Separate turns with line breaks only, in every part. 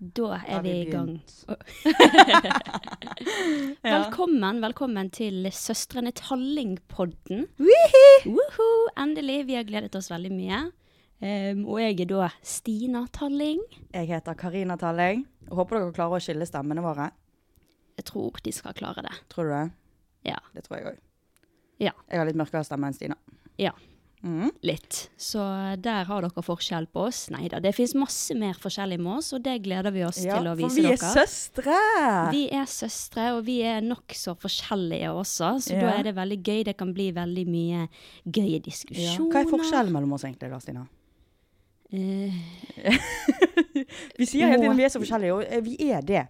da er
har
vi,
vi
i gang.
begynt.
Velkommen velkommen til Søstrene Talling-podden. Woohoo! Endelig. Vi har gledet oss veldig mye. Ehm, og jeg er da Stina Talling.
Jeg heter Karina Talleng. og Håper dere klarer å skille stemmene våre.
Jeg tror de skal klare det.
Tror du det?
Ja.
Det tror jeg òg.
Ja.
Jeg har litt mørkere stemme enn Stina.
ja.
Mhm.
Litt. Så der har dere forskjell på oss. Nei da, det fins masse mer forskjellig med oss, og det gleder vi oss til å vise
for vi
dere.
er søstre!
Vi er søstre, og vi er nokså forskjellige også, så
Ja.
da er det veldig gøy. Det kan bli veldig mye gøye
Ja.
diskusjoner.
Hva er forskjellen mellom oss egentlig, da, Stina?
Eh,
Vi sier hele tiden vi er så forskjellige, og eh, vi er det.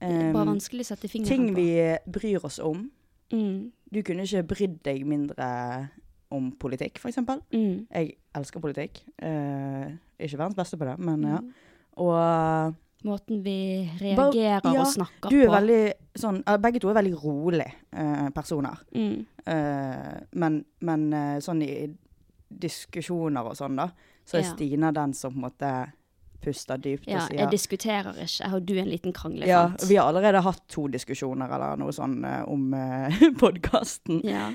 det er bare
Um,
vanskelig å sette fingeren på.
ting vi eh, bryr oss om.
Mm,
Du kunne ikke brydd deg mindre om politikk, for eksempel.
mm,
Jeg elsker politikk. Eh, ikke verdens beste på det, men ja.
Mm.
Og eh,
måten vi
Bare-
reagerer
ja,
og snakker
Du er
på.
veldig sånn eh, Begge to er veldig rolig eh, personer.
Mm,
Eh, men men eh, sånn i diskusjoner og sånn, da, så er
Ja.
Stina den som på en måte puster dypt
ja,
og sier
jeg diskuterer ikke, og du er en liten
ja,
kranglefant.
Vi har allerede hatt to diskusjoner eller noe sånn eh, om eh, podkasten.
Ja.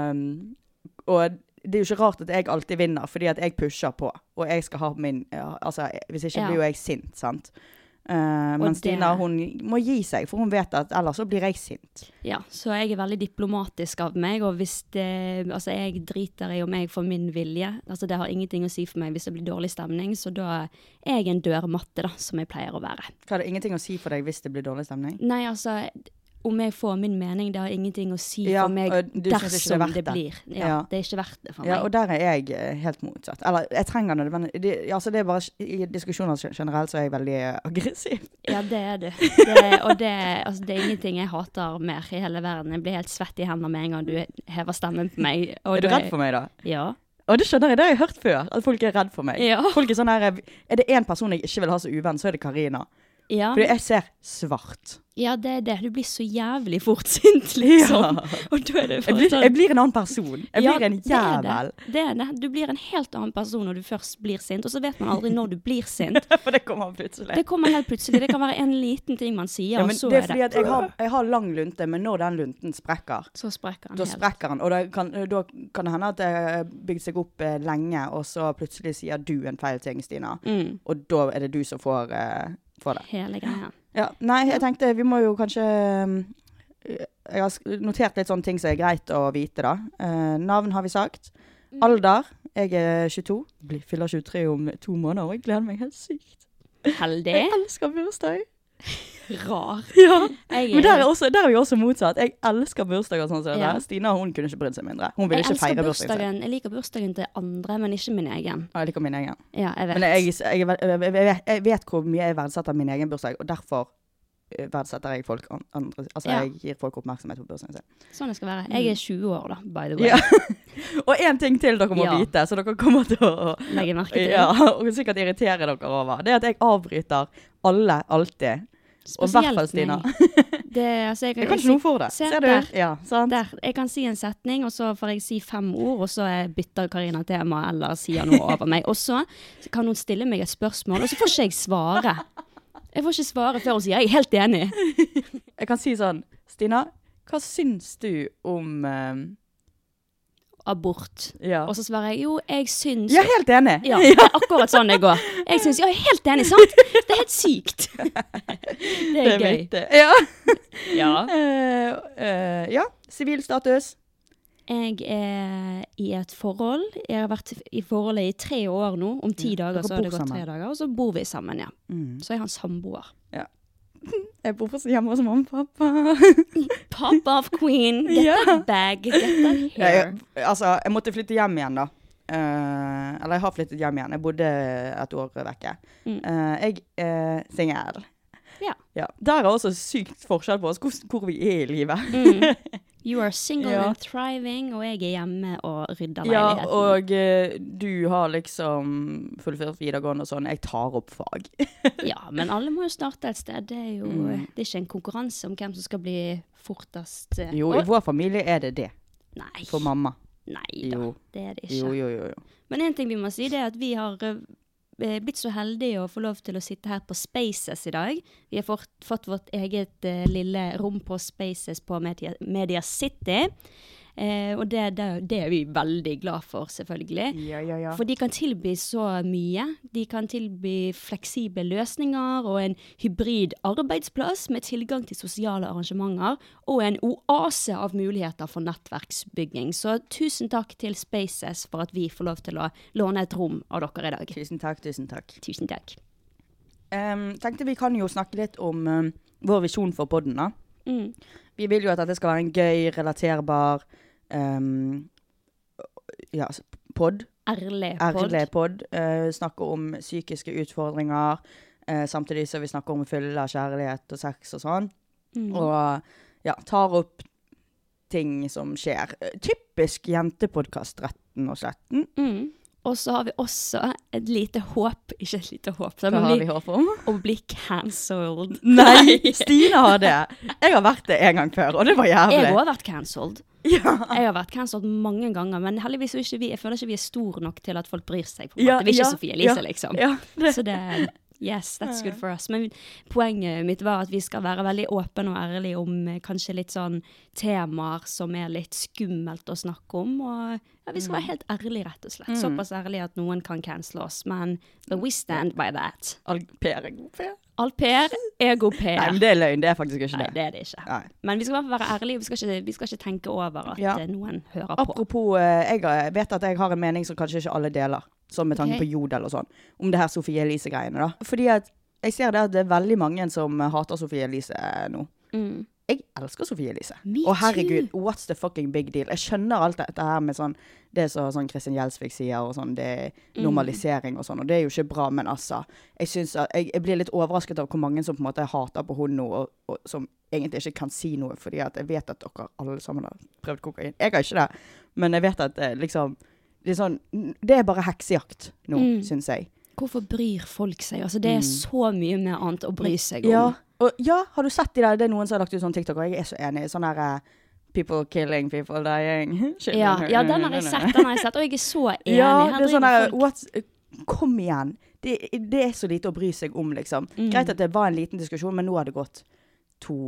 Eh, og det er jo ikke rart at jeg alltid vinner, fordi at jeg pusher på. Og jeg skal ha min ja, Altså, hvis ikke
Ja.
blir jo jeg sint, sant. Eh, men
det-
Stina hun må gi seg, for hun vet at ellers så blir jeg sint.
Ja, så jeg er veldig diplomatisk av meg, og hvis det Altså, jeg driter i om jeg får min vilje. Altså, det har ingenting å si for meg hvis det blir dårlig stemning, så da er jeg en dørmatte, da, som jeg pleier å være.
Hva har det ingenting å si for deg hvis det blir dårlig stemning?
Nei, altså om jeg får min mening, det har ingenting å si
Ja,
for meg
og du synes ikke det er
dersom
verdt
det,
det.
blir. Ja,
Ja.
Det er ikke verdt det for meg.
Ja, og der er jeg eh, helt motsatt. Eller, jeg trenger nødvendigvis det, altså, det er bare I diskusjoner gen- generelt så er jeg veldig eh, aggressiv.
Ja, det er du. Det, og det, altså, det er ingenting jeg hater mer i hele verden. Jeg blir helt svett i hendene med en gang du hever stemmen på meg. og
Er du
da-
redd for meg, da?
Ja.
Og det skjønner jeg, det har jeg hørt før. At folk er redd for meg.
Ja.
Folk Er sånn her Er det én person jeg ikke vil ha som uvenn, så er det Karina.
Ja.
Fordi jeg ser svart.
ja, det er det. Du blir så jævlig fort sint, liksom. Og da er det
Jeg
bare
blir,
sånn-
jeg blir en annen person. Jeg
Ja,
blir en
det er det.
jævel.
Det er det. Du blir en helt annen person når du først blir sint, og så vet man aldri når du blir sint.
For det kommer plutselig.
Det kommer helt plutselig. Det kan være en liten ting man sier,
Ja,
og
men
så
det er
er
fordi at
det
jeg har, jeg har lang lunte, men når den lunten sprekker,
Så sprekker han
da
helt.
sprekker den. Og da kan, da kan det hende at det har bygd seg opp eh, lenge, og så plutselig sier du en feil ting, Stina.
Mm.
Og da er det du som får, eh, får det.
Hele greia.
Ja, nei, jeg tenkte vi må jo kanskje mm, Jeg har sk- notert litt sånne ting som er greit å vite, da. Eh, navn har vi sagt.
Mm.
Alder. Jeg er 22. Blir, fyller 23 om to måneder, og jeg gleder meg helt sykt.
Heldig.
Jeg elsker bursdag.
Rar.
Ja.
Jeg
Men der er, også, der er vi også motsatt. Jeg elsker bursdager sånn som det
Ja.
der. Stina hun kunne ikke brydd seg mindre. Hun ville
Jeg
ikke
elsker
feire bursdagen sin.
bursdagen. Jeg liker bursdagen til andre, men ikke min egen.
Ja, Jeg liker min egen.
Ja, jeg vet.
Men jeg, jeg, er vel- jeg, jeg, jeg vet hvor mye jeg verdsetter min egen bursdag, og derfor eh, verdsetter jeg folk an- andre Altså
Ja.
jeg gir folk oppmerksomhet på bursdagen sin.
Sånn det skal være. Jeg er 20 år, da, by the way.
Mm. Ja. Og én ting til dere må
Ja.
vite, så dere kommer til å
Legger merke til.
ja, og sikkert irritere dere over, det er at jeg avbryter alle alltid. Og i hvert fall Stina.
meg. Det, altså, jeg,
Jeg kan ikke noe for det.
Se
Ser du?
der.
Ja, sant?
Der. Jeg kan si en setning, og så får jeg si fem ord, og så eh, bytter Karina tema eller sier noe over meg. Og så kan hun stille meg et spørsmål, og så får ikke jeg svare. Jeg får ikke svare før hun sier 'jeg er helt enig'.
Jeg kan si sånn Stina, hva syns du om eh,
Abort.
Ja.
Og så svarer jeg 'jo, jeg syns
Jeg er helt enig.
Ja, det er akkurat sånn det går. Jeg syns 'ja, jeg er helt enig', sant? Det er helt sykt. Det
det
er gøy.
vet jeg. Ja.
Ja.
Eh, eh, ja. Sivil status.
Jeg er i et forhold. Jeg har vært i forholdet i tre år nå. Om ti
Ja,
dager
dere
så har det
bor
gått
sammen. Mm.
tre dager, og så bor vi sammen, ja. Så jeg har en samboer.
Jeg bor fortsatt hjemme hos mamma og pappa.
Pop off queen, get
Ja.
that bag, get that
Jeg,
hair.
altså, jeg måtte flytte hjem igjen, da. Eh, eller jeg har flyttet hjem igjen. Jeg bodde et år vekke. Eh, jeg er singel.
Ja.
Ja. Der er også sykt forskjell på oss, hvor, hvor vi er i livet.
You are single
Ja.
and thriving, og jeg er hjemme og rydder
Ja,
leiligheten.
og eh, du har liksom fullført videregående og sånn. Jeg tar opp fag.
Ja, men alle må jo starte et sted. Det er jo
Mm.
det er ikke en konkurranse om hvem som skal bli fortest. eh,
Jo,
og-
i vår familie er det det.
Nei,
For mamma.
nei da,
Jo.
det er det ikke.
Jo, jo, jo. jo.
Men en ting vi må si, det er at vi har eh, blitt så heldige å få lov til å sitte her på Spaces i dag. Vi har fått, fått vårt eget eh, lille rom på Spaces på Media, Media City. Eh, og det, det, det er vi veldig glad for, selvfølgelig.
Ja, ja, ja.
For de kan tilby så mye. De kan tilby fleksible løsninger og en hybrid arbeidsplass med tilgang til sosiale arrangementer og en oase av muligheter for nettverksbygging. Så tusen takk til Spaces for at vi får lov til å låne et rom av dere i dag.
Tusen takk, tusen takk.
Tusen takk.
Em, tenkte vi kan jo snakke litt om em, vår visjon for podden, da.
Mm.
Vi vil jo at dette skal være en gøy, relaterbar um, ja, s- pod.
Ærlig pod.
Ærlig pod. eh, snakke om psykiske utfordringer. eh, samtidig som vi snakker om fylle, kjærlighet og sex og sånn. Og ja, tar opp ting som skjer. Eh, Typisk jentepodkast, retten og sletten.
Mm. Og så har vi også et lite håp, ikke et lite håp,
Hva har vi
men
håp om?
å bli cancelled.
Nei, Stine har det! Jeg har vært det en gang før, og det var jævlig.
Jeg har også vært cancelled.
Ja.
Jeg har vært cancelled mange ganger, men heldigvis er ikke vi, jeg føler ikke vi er store nok til at folk bryr seg. på en måte.
Ja,
vi er ikke
ja,
Sofie Elise,
ja,
liksom.
ja, det-
Så det Yes, that's good for us. Men poenget mitt var at vi skal være veldig åpne og ærlige om eh, kanskje litt sånn temaer som er litt skummelt å snakke om. Og ja, vi
Mm.
skal være helt ærlige, rett og slett. Såpass ærlige at noen kan cancele oss. Men but we stand by that.
Per er god per.
Alt PR, ego PR.
Nei, men det er løgn. Det er faktisk ikke
Nei,
det.
det er det ikke.
Nei.
Men vi skal i hvert fall være ærlige. Vi skal ikke, vi skal ikke tenke over at
Ja.
eh, noen hører på.
Apropos, eh, jeg har- vet at jeg har en mening som kanskje ikke alle deler, sånn med tanke
Ok.
på Jodel og sånn, om det her Sofie Elise-greiene da. Fordi at jeg ser det at det er veldig mange som hater Sofie Elise eh, nå. Jeg elsker Sofie Elise.
Me
og herregud, what's the fucking big deal? Jeg skjønner alt dette her med sånn, det som sånn Kristin Gjelsvik sier, og sånn, det er normalisering og sånn, og det er jo ikke bra, men altså, jeg synes at, jeg, jeg blir litt overrasket av hvor mange som på en måte hater på hun nå, og, og som egentlig ikke kan si noe, fordi at jeg vet at dere alle sammen har prøvd kokain. Jeg har ikke det, men jeg vet at eh, liksom, det er, sånn, det er bare heksejakt nå, synes jeg.
Hvorfor bryr folk seg? Altså, det er så mye mer annet å bry seg om.
Mm. Ja, og, ja har du sett de der? Det er noen som har lagt ut sånn TikTok, og jeg er så enig. Sånn her eh, People killing, people dying. Shit.
Ja, ja, den har jeg sett, den har jeg sett. Og jeg er så enig.
Ja,
Her
det er sånn
driver
der
folk-
what's, Kom igjen. Det, det er så lite å bry seg om, liksom.
Mm.
Greit at det var en liten diskusjon, men nå har det gått to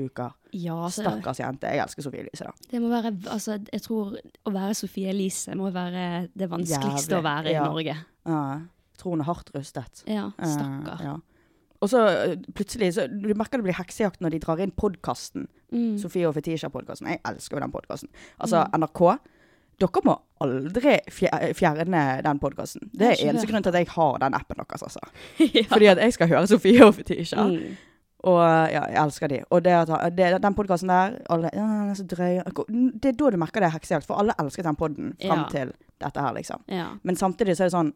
uker.
ja, altså,
Stakkars jente. Jeg elsker Sofie Elise, da.
Det må være, altså, jeg tror å være Sofie Elise må være det vanskeligste å
Jævlig,
være
ja.
i Norge.
Ja. Jeg tror hun er hardt rustet.
Ja,
Eh,
stakkar.
ja. Og så eh, plutselig så, Du merker det blir heksejakt når de drar inn podkasten.
Mm.
Sofie og Fetisha-podkasten. Jeg elsker jo den podkasten. Altså NRK. Dere må aldri fjer- fjerne den podkasten. Det
Jeg
er eneste
skjønner.
grunnen til at jeg har den appen deres, altså. Fordi at jeg skal høre Sofie og Fetisha.
Mm.
Og ja, jeg elsker de. Og det, at- det, den podkasten der alle, ja, den er så drøy. Det er da du merker det er heksejakt, for alle elsket den podden fram
Ja.
til dette her, liksom.
Ja.
Men samtidig så er det sånn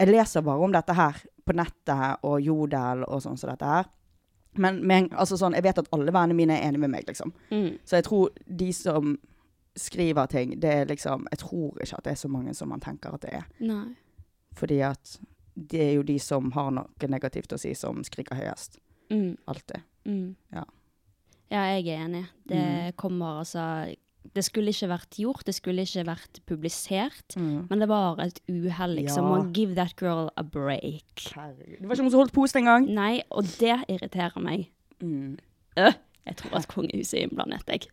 Jeg leser bare om dette her på nettet og Jodel og sånn som dette her. Men, men altså sånn, jeg vet at alle vennene mine er enige med meg, liksom.
Mm.
Så jeg tror de som skriver ting, det er liksom Jeg tror ikke at det er så mange som man tenker at det er.
Nei.
Fordi at det er jo de som har noe negativt å si, som skriker høyest.
Mm.
Alltid.
Mm.
Ja. Mm.
ja, jeg er enig. Det kommer altså Det skulle ikke vært gjort, det skulle ikke vært publisert. Men det var et uhell, liksom.
Mm. Ja.
Og give that girl a break.
Det var ikke noen som holdt pose engang.
Nei, og det irriterer meg.
Mm.
Øh, jeg tror at kongehuset er innblandet, jeg.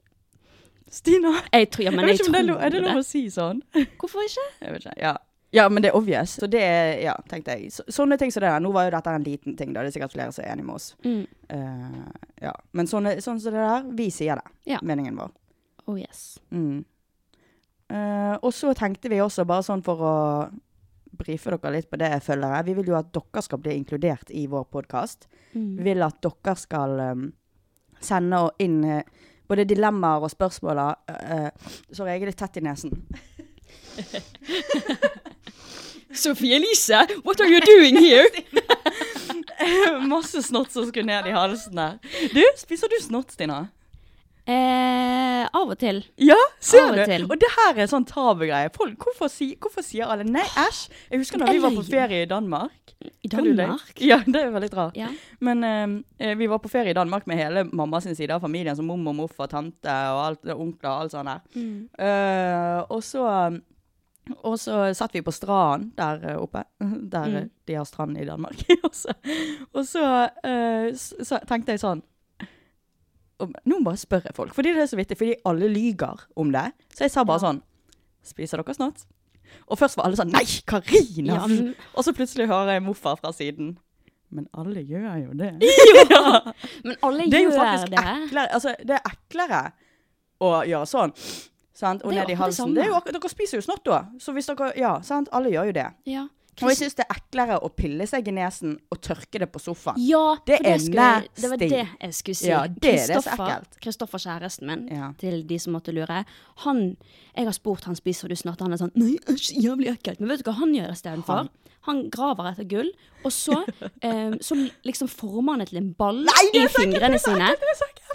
Stina!
jeg tror, ja, men jeg,
vet ikke om det er,
tror
lov, er det lov å si sånn?
Hvorfor ikke?
Jeg vet ikke, ja. Ja, men det er obvious. Så det er, ja, tenkte jeg. Så, sånne ting som det der. Nå var jo dette en liten ting, da. Det er sikkert flere som er enige med oss.
Mm.
Eh, ja. Men sånne, sånn som det der, vi sier det.
Ja.
Meningen vår.
Oh yes.
Mm. Eh, og så tenkte vi også, bare sånn for å brife dere litt på det, følgere Vi vil jo at dere skal bli inkludert i vår podkast. Vi vil at dere skal eh, sende inn eh, både dilemmaer og spørsmål eh, eh, Sorry, jeg er litt tett i nesen.
Sophie Elise, what are you doing here?
Masse snott som skulle ned i halsen der. Du, spiser du snott, Stina?
eh, av og til.
Ja, ser
Av og
du?
til.
Og det her er sånn tabugreie. Folk, hvorfor, si, hvorfor sier alle nei, æsj? Jeg husker når vi var på ferie i Danmark.
I
Kan du det?
Danmark?
Ja, det er veldig rart.
Ja.
Men eh, vi var på ferie i Danmark med hele mamma sin side av familien, som mormor, morfar, tante og alt, onkler og alt sånt der. Eh, og så og så satt vi på stranden der eh, oppe, der eh, de har strand i Danmark. og så, og så, eh, s- så tenkte jeg sånn om- Nå bare spør jeg folk, fordi det er så vittig, fordi alle lyger om det. Så jeg sa bare sånn Spiser dere snart? Og først var alle sånn Nei, Karina!
Ja, men-
Og så plutselig hører jeg morfar fra siden. Men alle gjør jo det.
Men alle
Det er jo
gjør
faktisk
det.
eklere. Altså, det er eklere å gjøre sånn. Sant? Og
Det er jo
ned i
akkurat det
halsen.
samme.
Det er jo, akkurat- dere spiser jo snott da. Så hvis dere, ja, sant? Alle gjør jo det.
Ja.
Og jeg syns det er eklere å pille seg i nesen og tørke det på sofaen.
Ja,
Det
for
er
skulle, det var
nasty.
det jeg skulle si.
Ja, det er det som er
Kristoffer-
ekkelt.
Kristoffer, kjæresten min,
Ja.
til de som måtte lure, han Jeg har spurt han spiser du snart, han er sånn Nei, æsj, jævlig ekkelt. Men vet du hva han gjør istedenfor? Han. han graver etter gull, og så, eh, så liksom former han det til en ball i fingrene sine.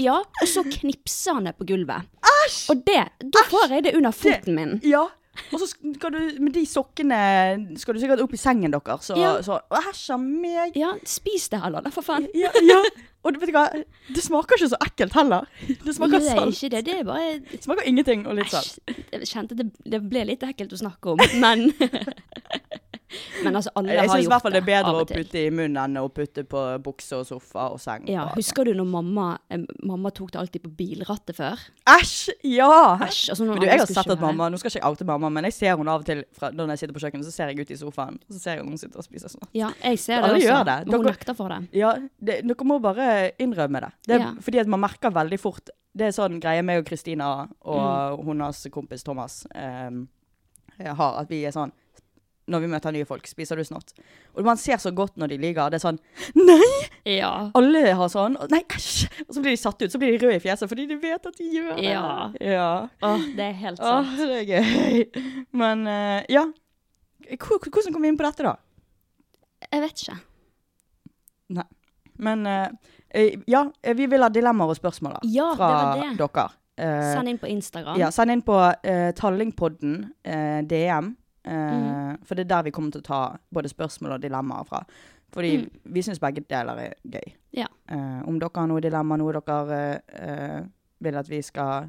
Ja, og så knipser han det på gulvet.
Æsj!
Og det, da får jeg det under foten min.
Ja. Og så skal du med de sokkene skal du sikkert opp i sengen deres. Så,
Ja.
så Æsj a meg.
Ja, spis det heller, da, for faen.
Ja, ja. Og vet du hva, det smaker ikke så ekkelt heller. Det smaker
det er
salt.
ikke det, det er bare
Det smaker ingenting og litt salt.
Æsj, jeg kjente det, det ble litt ekkelt å snakke om, men Men altså, alle
Jeg
har
syns i hvert
gjort
fall det er bedre
av
å
og til.
putte i munnen enn å putte på bukse og sofa og seng.
Ja,
og-
Husker du når mamma eh, Mamma tok det alltid på bilrattet før?
Æsj! Ja!
Æsj, altså når
men du,
alle
jeg har
skulle
sett at
kjøre.
mamma, Nå skal ikke jeg oute mamma, men jeg ser henne av og til fra, når jeg sitter på kjøkkenet. Så ser jeg ut i sofaen, og så ser jeg at hun sitter og spiser sånn.
Ja, jeg ser det
Alle
også,
gjør det.
men hun
Dere-
nekter for det.
Ja, det, dere må bare innrømme det. det er,
Ja.
Fordi at man merker veldig fort Det er sånn greie meg og Kristina
Mm.
og hennes kompis Thomas em, har, at vi er sånn Når vi møter nye folk, spiser du snott? Og man ser så godt når de lyver. Det er sånn Nei!
Ja.
Alle har sånn. og Nei, æsj! Og så blir de satt ut. Så blir de røde i fjeset fordi de vet at de gjør det.
Ja.
ja.
Åh, det er helt sant.
Åh, det er gøy. Men eh, ja. Hvor- hvor- Hvordan kom vi inn på dette, da?
Jeg vet ikke.
Nei. Men eh, eh, ja, eh, vi vil ha dilemmaer og spørsmål da,
Ja, det
fra
var det.
dere. Eh,
Send inn på Instagram.
ja, send inn på eh, Tallingpodden eh, DM, eh,
Mhm.
for det er der vi kommer til å ta både spørsmål og dilemmaer fra. Fordi vi syns begge deler er gøy.
Mm. Ja.
Eh, om dere har noe dilemma, noe dere eh, eh, vil at vi skal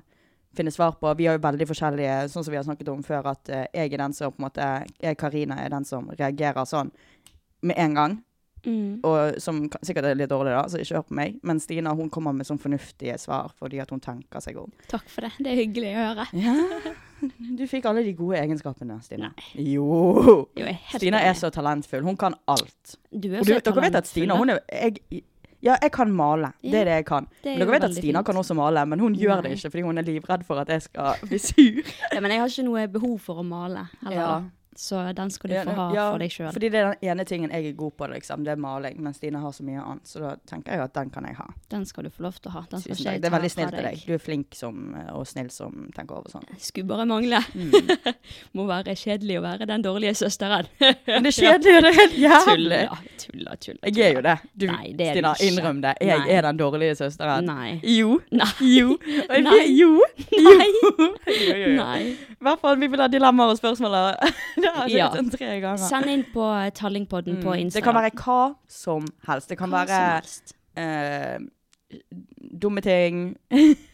finne svar på. Vi har jo veldig forskjellige, sånn som vi har snakket om før, at eh, jeg er den som på en måte, jeg Karina er den som reagerer sånn med en gang,
Mm.
og som ka- sikkert er litt dårlig da, så ikke hør på meg. Men Stina hun kommer med sånn fornuftige svar, fordi at hun tenker seg om.
Takk for det. Det er hyggelig å høre.
Ja, du fikk alle de gode egenskapene, Stina. Jo!
Jo, jeg er helt
Stina er
enig.
så talentfull. Hun kan alt.
Du er
Og du, dere vet at Stina hun er jeg, Ja, jeg kan male. Det er det jeg kan.
er
Men
jo
dere vet at
veldig
Stina
fint.
kan også male, men hun gjør det
Nei.
ikke fordi hun er livredd for at jeg skal bli sur.
ja, Men jeg har ikke noe behov for å male. Eller?
Ja.
Så den skal du
Ja,
få ha
ja,
for deg sjøl.
Fordi det er den ene tingen jeg er god på, liksom. Det er maling. Men Stine har så mye annet, så da tenker jeg at den kan jeg ha.
Den skal du få lov til å ha. Den skal
Tusen
ikke
takk.
jeg
Det er
ta
veldig
fra
snilt av deg. Du er flink som, og snill som tenker over sånn.
Skulle bare mangle.
Mm.
Må være kjedelig å være den dårlige søsteren.
Men det er kjedelig, og det er helt jævlig.
Tulla, tulla, tulla.
Jeg er jo det. Du,
Nei, det er du
Stina,
ikke.
innrøm det. Jeg
Nei.
er den dårlige søsteren.
Nei.
Jo.
Nei.
Jo. Og jeg-
Nei.
Jo.
Nei.
Jo, jo, jo.
Nei.
I hvert fall vi vil ha dilemmaer og spørsmål. her. Det har jeg
Ja.
sagt en tre ganger.
Send inn på eh, Tallingpodden på Instagram.
Mm. Det kan være hva som helst. Det kan
Hva
være
som helst.
eh, dumme ting.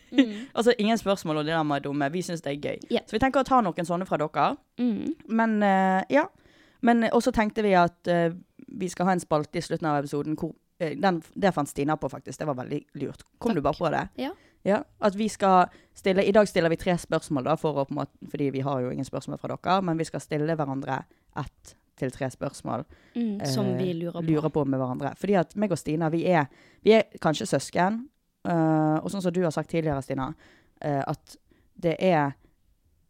Mm.
altså ingen spørsmål om det der med dumme. Vi syns det er gøy.
Ja.
Så vi tenker å ta noen sånne fra dere.
Mm.
Men eh, ja. Men eh, også tenkte vi at eh, vi skal ha en spalte i slutten av episoden hvor eh, den, Det fant Stina på, faktisk. Det var veldig lurt. Kom du bare på det?
Ja.
Ja, at vi skal stille, I dag stiller vi tre spørsmål, da, for å, på en måte, fordi vi har jo ingen spørsmål fra dere. Men vi skal stille hverandre ett til tre spørsmål
Mm. Som
eh,
vi lurer på.
lurer på med hverandre. Fordi at meg og Stina, vi er, vi er kanskje søsken. eh, og sånn som du har sagt tidligere, Stina, eh, at det er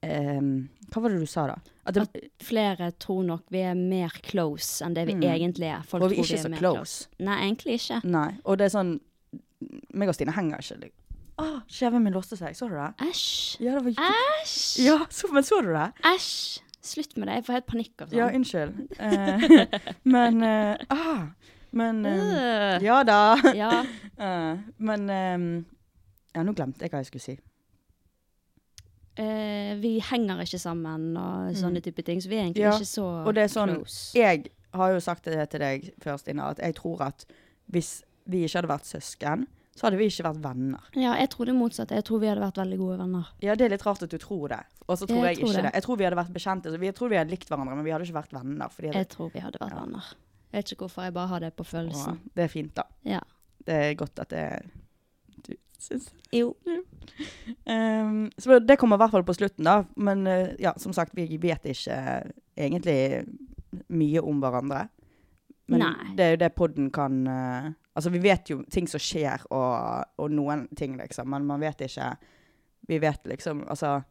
eh, Hva var det du sa, da? At det,
Flere tror nok vi er mer close enn det vi
Mm.
egentlig er. Folk
og vi er
tror
ikke så
mer
close.
Nei, egentlig ikke.
Nei. Og det er sånn Meg og Stina henger ikke. Like. Ah, Kjeven min låste seg. Så du det?
Æsj.
Ja, det var jævlig-
Æsj.
ja så, men så du det?
Æsj. Slutt med det. Jeg får helt panikk av sånt.
Ja, unnskyld. Eh, men eh, ah, Men eh,
Øh.
Ja da.
ja.
Eh, men eh, Ja, nå glemte jeg hva jeg skulle si.
Eh, vi henger ikke sammen og sånne type ting, så vi er egentlig
Mm. Ja,
ikke så
Og det er sånn,
close.
jeg har jo sagt det til deg før, Stina, at jeg tror at hvis vi ikke hadde vært søsken, så hadde vi ikke vært venner.
Ja, jeg tror det motsatte. Jeg tror vi hadde vært veldig gode venner.
Ja, det er litt rart at du tror det, og så tror
Jeg
jeg,
tror
ikke
det.
det. Jeg tror vi hadde vært bekjente, så vi, jeg tror vi hadde likt hverandre, men vi hadde ikke vært venner. Fordi det,
Jeg tror vi hadde vært venner. Jeg vet ikke hvorfor, jeg bare har det på
Åh,
følelsen.
det er fint da.
Ja.
Det er godt at det du synes.
Jo.
Ehm, så det kommer i hvert fall på slutten da, men eh, ja, som sagt, vi vet ikke eh, egentlig mye om hverandre. Men
Nei.
det er jo det podden kan eh, Altså, vi vet jo ting som skjer, og, og noen ting, liksom, men man vet ikke Vi vet liksom Altså,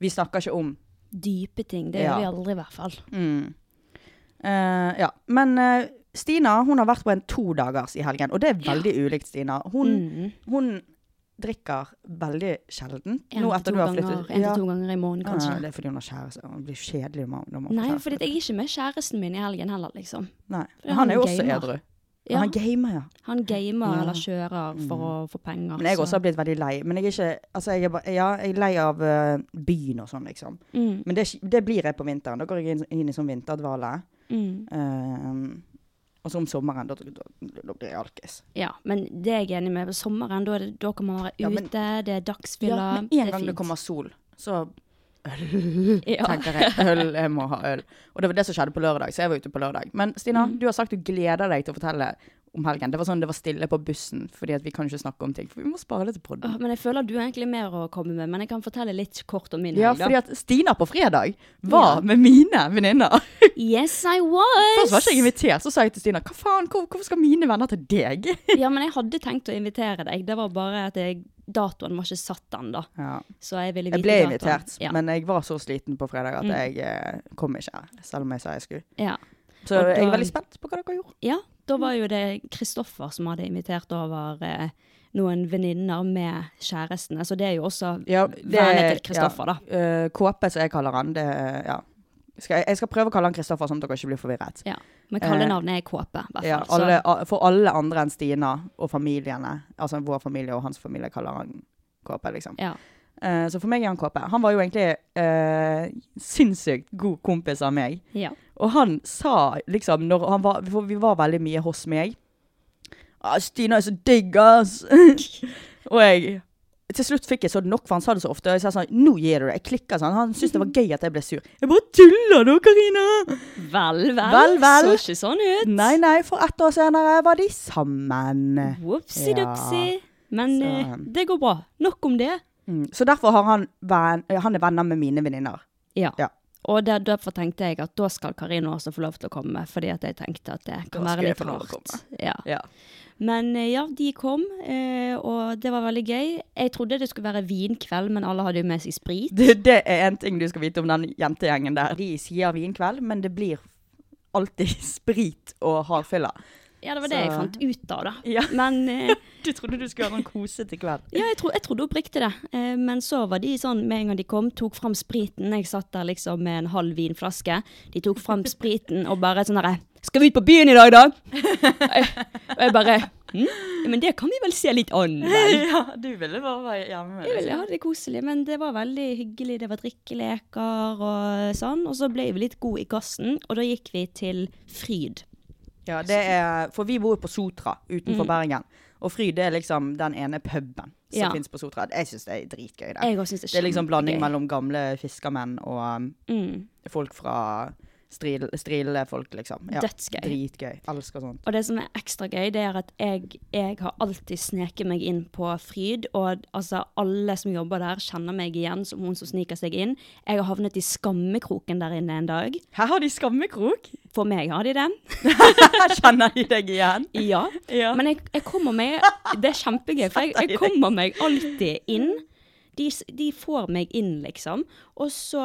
vi snakker ikke om
Dype ting. Det gjør
Ja.
vi aldri, i hvert fall.
mm. Eh, Ja. Men eh, Stina hun har vært på en todagers i helgen, og det er veldig ulikt Stina. Hun,
Mm.
hun drikker veldig sjeldent.
En
Nå
til to
etter du har
ganger-
flyttet
En
Ja.
til to ganger i måneden,
Kanskje.
kanskje.
det er fordi hun har kjæreste. Hun blir kjedelig når man- når man får
Nei,
kjæreste.
fordi jeg er ikke med kjæresten min i helgen heller, liksom.
Nei.
fordi
Han
han
er jo også
gamer.
edru. Men
Ja,
Han gamer, ja.
han gamer
Ja. Mm.
eller kjører for å få penger.
Men jeg
så-
også har blitt veldig lei. Men jeg er ikke Altså, jeg er, bare, ja, jeg er lei av eh, byen og sånn, liksom.
Mm,
Men det, er ikke- det blir jeg på vinteren. Da går jeg inn, inn i sånn vinterdvale.
mm.
Eh, og så om sommeren, da, da, da blir jeg alkis.
Ja, men det er jeg enig med. På sommeren, da, er det- da kan man være ute,
Ja, men-
det er dagsfylla.
men en gang det kommer sol, så
ja.
tenker jeg øl, jeg må ha øl. Og det var det som skjedde på lørdag, så jeg var ute på lørdag. Men Stina,
Mm.
du har sagt du gleder deg til å fortelle om helgen. Det var sånn det var stille på bussen, fordi at vi kan ikke snakke om ting. For vi må spare det til podden.
Åh, Men jeg føler du har egentlig mer å komme med, men jeg kan fortelle litt kort om min
Ja,
helg. da.
fordi at Stina på fredag var
Ja.
med mine venninner.
Yes, I
Først var ikke
was!
jeg invitert, så sa jeg til Stina hva faen, hvor, hvorfor skal mine venner til deg?
Ja, men jeg hadde tenkt å invitere deg, det var bare at jeg, datoen var ikke satt den da. Så jeg ville
Jeg
vite
ble
datoen.
invitert,
ja. Mm.
men jeg var så sliten på fredag at jeg eh, kom ikke, selv om jeg sa jeg skulle.
Ja.
Så
Og da-
jeg er veldig spent på hva dere gjorde.
ja, da var jo det Kristoffer som hadde invitert over eh, noen venninner med kjærestene, så det er jo også vennene til Kristoffer da.
eh, KP, som jeg kaller han. Det, ja. skal, jeg- jeg skal prøve å kalle han Kristoffer, sånn at dere ikke blir forvirret.
Ja, men kallenavnet er Kåpe, i hvert fall.
Ja, alle, a- for alle andre enn Stina og familiene, altså vår familie og hans familie, kaller han KP, liksom.
Så, ja.
Eh, Så for meg er han KP. Han var jo egentlig eh, sinnssykt god kompis av meg.
ja.
Og han sa liksom når han var, For vi var veldig mye hos meg. Ah, 'Stina er så digg, ass!' og jeg Til slutt fikk jeg så nok, for han sa det så ofte. Og jeg sa sånn 'Nå gir du deg.' Jeg klikka sånn. Han syntes det var gøy at jeg ble sur. Jeg bare 'Tuller du, Karina?'
Vel, vel,
Vel, vel.
så ikke sånn ut.
Nei, nei, for ett år senere var de sammen.
Whoopsie-doopsie. Men
Så,
eh,
um,
det går bra. Nok om det.
Mm. Så derfor har han, ven, eh, han er venner med mine venninner.
Ja.
Ja.
Og der, derfor tenkte jeg at da skal Karine også få lov til å komme, fordi at jeg tenkte at det kan
Da skal
være
jeg
litt
få lov til å
rart. Ja.
Ja.
Men eh, ja, de kom, eh, og det var veldig gøy. Jeg trodde det skulle være vinkveld, men alle hadde jo med seg sprit.
Det, det er en ting du skal vite om den jentegjengen der. De sier vinkveld, men det blir alltid sprit og hardfylla.
Ja, det var det
Så-
jeg fant ut av, da.
Ja.
Men eh,
Du trodde du skulle ha noen kosete kveld.
ja, jeg, tro, jeg trodde oppriktig det. Eh, men så var de sånn, med en gang de kom, tok fram spriten. Jeg satt der liksom med en halv vinflaske. De tok fram spriten og bare sånn derre Skal vi ut på byen i dag, da? Og jeg- og jeg bare hm? Men det kan vi vel se litt an, vel?
Ja, du ville bare være hjemme.
Jeg ville ha det koselig, men det var veldig hyggelig. Det var drikkeleker og sånn. Og så ble vi litt gode i gassen, og da gikk vi til Fryd.
Ja, det er, for vi bor jo på Sotra utenfor Bergen. Og Fryd er liksom den ene puben som
Ja.
finnes på Sotra. Jeg syns det er dritgøy. Det.
Jeg også synes det er
det er liksom blanding
kjempegøy.
mellom gamle fiskermenn og um,
Mm.
folk fra stril, strile folk, liksom.
Dødsgøy.
Dritgøy. Elsker sånt.
Og det som er ekstra gøy, det er at jeg, jeg har alltid sneket meg inn på Fryd, og altså alle som jobber der kjenner meg igjen som hun som sniker seg inn. Jeg har havnet i skammekroken der inne en dag.
Her har de skammekrok!
For meg har de det.
Her kjenner de deg igjen.
Ja.
Ja.
Men jeg, jeg kommer meg Det er kjempegøy, for jeg, jeg kommer meg alltid inn. De, s- de får meg inn, liksom. Og så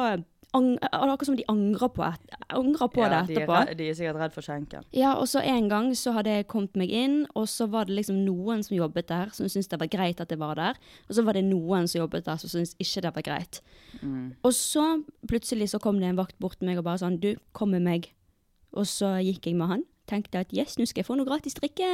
ang, er det Akkurat som de angrer på, et, angrer på det
de, er
etterpå.
redd- de er sikkert redd for skjenken.
Ja, og så en gang så hadde jeg kommet meg inn, og så var det liksom noen som jobbet der, som syntes det var greit at jeg var der. Og så var det noen som jobbet der, som syntes ikke det var greit. Og så plutselig så kom det en vakt bort til meg og bare sånn, du, kom med meg. Og så gikk jeg med han. Tenkte at yes, nå skal jeg få noe gratis drikke.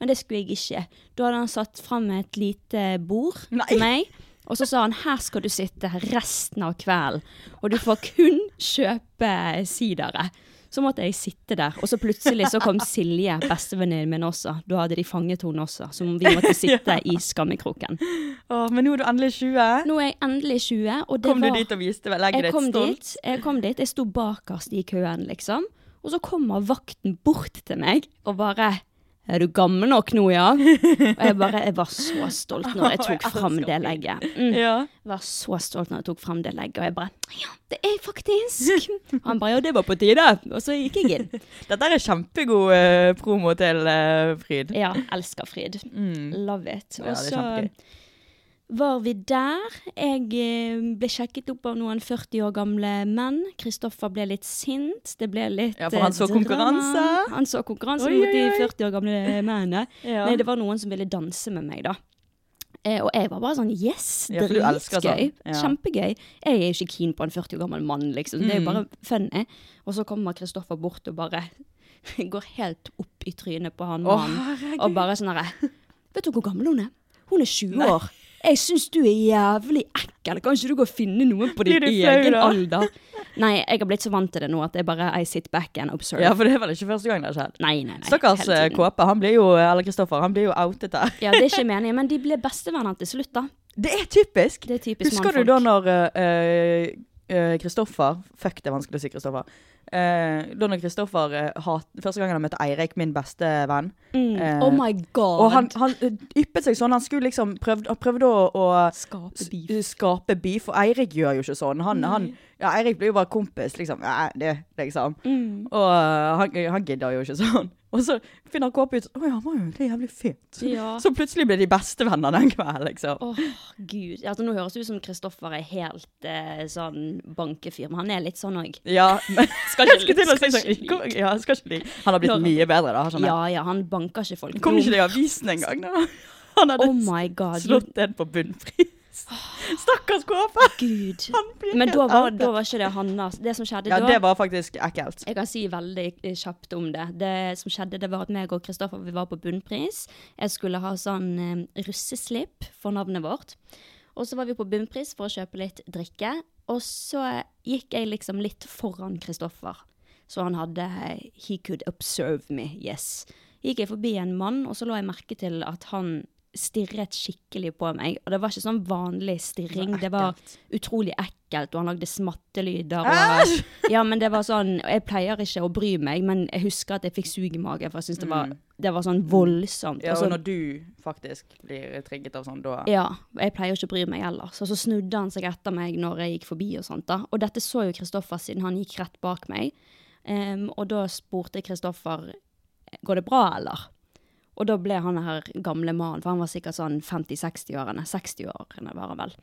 Men det skulle jeg ikke. Da hadde han satt fram et lite bord
Nei.
til meg. Og så sa han her skal du sitte resten av kvelden, og du får kun kjøpe sidere. Så måtte jeg sitte der, og så plutselig så kom Silje, bestevenninnen min også. Da hadde de fanget henne også, som vi måtte sitte i skammekroken.
Åh, men nå er du endelig 20.
Nå er jeg endelig 20, og det
Kom du
var
dit og viste vel? Legg
jeg
deg
kom,
et stolt.
dit, jeg kom dit, jeg sto bakerst i køen, liksom. Og så kommer vakten bort til meg og bare Er du gammel nok nå, ja? Og jeg bare Jeg var så stolt når jeg tok fram det legget. Mm.
Ja.
Jeg var så stolt når jeg tok fram det legget, og jeg bare Ja, det er jeg faktisk! Han bare Ja, det var på tide! Og så gikk jeg inn.
Dette er kjempegod eh, promo til eh, Fryd.
Ja, elsker Fryd. Love it.
Mm. Ja,
Og
det er
så
kjempegøy.
var vi der. Jeg eh, ble sjekket opp av noen 40 år gamle menn. Kristoffer ble litt sint. Det ble litt
Ja, for han
eh,
så konkurranse.
drama. Han så konkurranse
Oi, oi,
mot de
oi.
40 år gamle mennene.
Ja.
Nei, det var noen som ville danse med meg, da. Eh, og jeg var bare sånn Yes,
Ja, for du elsker
dritgøy.
sånn. Ja.
Kjempegøy. Jeg er ikke keen på en 40 år gammel mann, liksom. Det er jo
Mm.
bare funny. Og så kommer Kristoffer bort og bare går helt opp i trynet på han mannen. Og bare sånn herre Vet du hvor gammel hun er? Hun er 20 år. Jeg syns du er jævlig ekkel. Kan ikke du gå og finne noen på
Blir
din
du flau
egen
da?
alder? Nei, jeg har blitt så vant til det nå at jeg bare I sit back and observe.
Ja, for det er vel ikke første gang det har skjedd.
Nei, nei, nei.
Stakkars
hele
eh,
tiden.
Kåpe, han blir jo, eller Kristoffer, han blir jo outet der.
Ja, det er ikke meningen, men de ble bestevenner til slutt, da.
Det er typisk!
Det er typisk
Husker du da når eh, eh, Kristoffer Fuck, det er vanskelig å si Kristoffer. Eh, da når Kristoffer eh, hat, Første gangen han møtte Eirik, min beste venn.
Mm.
eh,
oh my god.
Og han, han eh, yppet seg sånn. Han skulle liksom prøvde, han prøvde å, å
Skape
s- skape beef, og Eirik gjør jo ikke sånn. Han, han, ja, Eirik blir jo bare kompis, liksom. Nei, det, liksom. Og eh, han, han gidder jo ikke sånn. Og så finner Kåpe ut Å ja, han var jo egentlig jævlig fet.
Ja.
Så plutselig ble de bestevenner den kvelden, liksom.
Åh, gud. Altså, nå høres det ut som Kristoffer er helt eh, sånn bankefyr, men han er litt sånn òg.
Ja, men
Skal
jeg
ikke
skulle til å si
like, skal ikke
sånn ja, skal ikke like. Han har blitt
Når-
mye bedre, da. Sånn, ja.
Ja, ja, han banker ikke folk.
Kom
Nå-
ikke det i avisen engang, da? Han hadde
Oh my god.
slått en på bunnpris. Ah. Stakkars Kåpe!
Gud.
Han blir
Men
helt
da var,
outet.
da var ikke det hans Det som skjedde
Ja,
da
det var faktisk ekkelt.
Jeg kan si veldig eh, kjapt om det. Det som skjedde, det var at meg og Kristoffer vi var på Bunnpris. Jeg skulle ha sånn eh, russeslipp for navnet vårt. Og så var vi på Bunnpris for å kjøpe litt drikke. Og så gikk jeg liksom litt foran Kristoffer. Så han hadde eh, He could observe me, yes. Gikk jeg forbi en mann, og så la jeg merke til at han stirret skikkelig på meg. Og det var ikke sånn vanlig stirring. Det var utrolig ekkelt, og han lagde smattelyder. Og, ja, men det var sånn Jeg pleier ikke å bry meg, men jeg husker at jeg fikk sug i magen, for jeg syntes det var det var sånn voldsomt.
Ja,
og så-
og når du faktisk blir trigget av sånn, da
Ja, og jeg pleier jo ikke å bry meg ellers. Og så snudde han seg etter meg når jeg gikk forbi og sånt da. Og dette så jo Kristoffer siden han gikk rett bak meg. Em, og da spurte jeg Kristoffer, går det bra eller? Og da ble han her gamle mannen, for han var sikkert sånn 50-60-årene, 60-årene var han vel.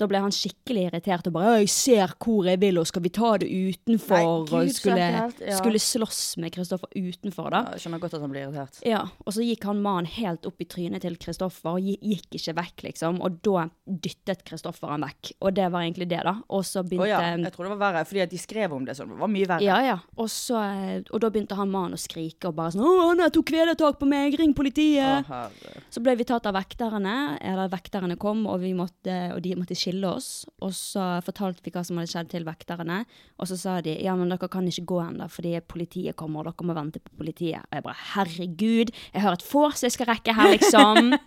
Da ble han skikkelig irritert og bare, «Å, jeg ser hvor jeg vil, og skal vi ta det utenfor?
Nei, Gud,
og
så
skulle,
ekkelt, ja.
skulle slåss med Kristoffer utenfor da.
Jeg skjønner godt at han blir irritert.
Ja, og så gikk han mannen helt opp i trynet til Kristoffer og gi- gikk ikke vekk, liksom. Og da dyttet Kristoffer han vekk, og det var egentlig det, da. Og så
Å
begynte
ja, jeg tror det var verre, fordi at de skrev om det sånn. Det var mye verre.
ja, ja. Og, så, eh, og da begynte han mannen å skrike og bare sånn 'Å, han tok kvelertak på meg! Ring
Å,
politiet!'
herre.
Så ble vi tatt av vekterne, eller vekterne kom, og, vi måtte, og de måtte skille oss. Og så fortalte vi hva som hadde skjedd til vekterne, og så sa de 'Ja, men dere kan ikke gå ennå, fordi politiet kommer, og dere må vente på politiet'. Og jeg bare 'Herregud, jeg har et vors jeg skal rekke her, liksom'.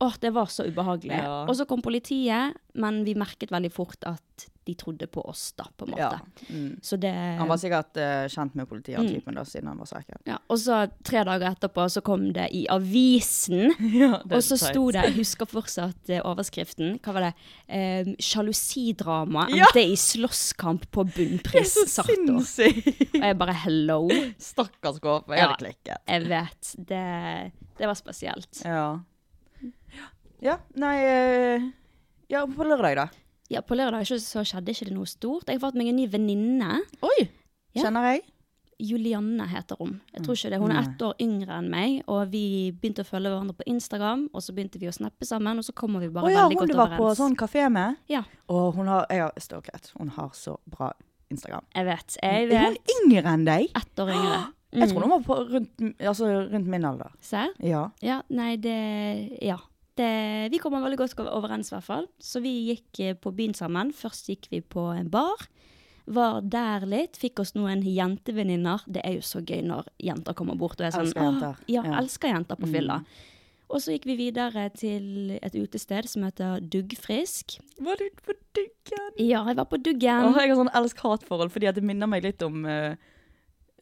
Åh, det var så ubehagelig.
Ja.
Og så kom politiet, men vi merket veldig fort at de trodde på oss, da, på en måte.
Ja, Mm.
Så det
Han var sikkert eh, kjent med politiet, han typen, da, siden han var så ekkel.
ja, og så tre dager etterpå så kom det i avisen,
det er
og så
teit.
sto det, jeg husker fortsatt eh, overskriften, hva var det? Eh, Sjalusidrama
Ja.
endte i slåsskamp på bunnpris, Sartor.
sinnssykt!
Og jeg bare, hello.
Stakkars Kåpe, jeg
Ja.
hadde klikket.
Jeg vet, det, det var spesielt.
Ja. Ja, nei eh, Ja, på lørdag, da.
Ja, på lørdag ikke- så skjedde ikke det noe stort. Jeg fant meg en ny venninne,
Oi!
Ja.
Kjenner jeg.
Julianne heter hun. Jeg tror ikke det. Hun er ett år yngre enn meg, og vi begynte å følge hverandre på Instagram, og så begynte vi å snappe sammen, og så kommer vi
Å
bare
ja,
veldig
hun
godt
du
overens.
var på sånn kafé med?
Ja,
Og hun har Jeg har stalket. Hun har så bra Instagram.
jeg vet. Jeg
Er hun
vet.
yngre enn deg?
Ett år yngre. Mm.
Jeg tror hun var på rundt, altså, rundt min alder.
Serr?
Ja.
Ja, nei, det Ja. Det, vi kommer veldig godt overens, i hvert fall. Så vi gikk eh, på byen sammen. Først gikk vi på en bar. Var der litt. Fikk oss noen jentevenninner. Det er jo så gøy når jenter kommer bort og er sånn
Elsker
«Åh,
jenter».
Ja,
Ja. Mm.
elsker jenter på fylla. Og så gikk vi videre til et utested som heter Duggfrisk.
Var du på duggen?
Ja, jeg var på Duggen.
Åh, jeg har sånn elsk-hat-forhold, fordi at det minner meg litt om eh,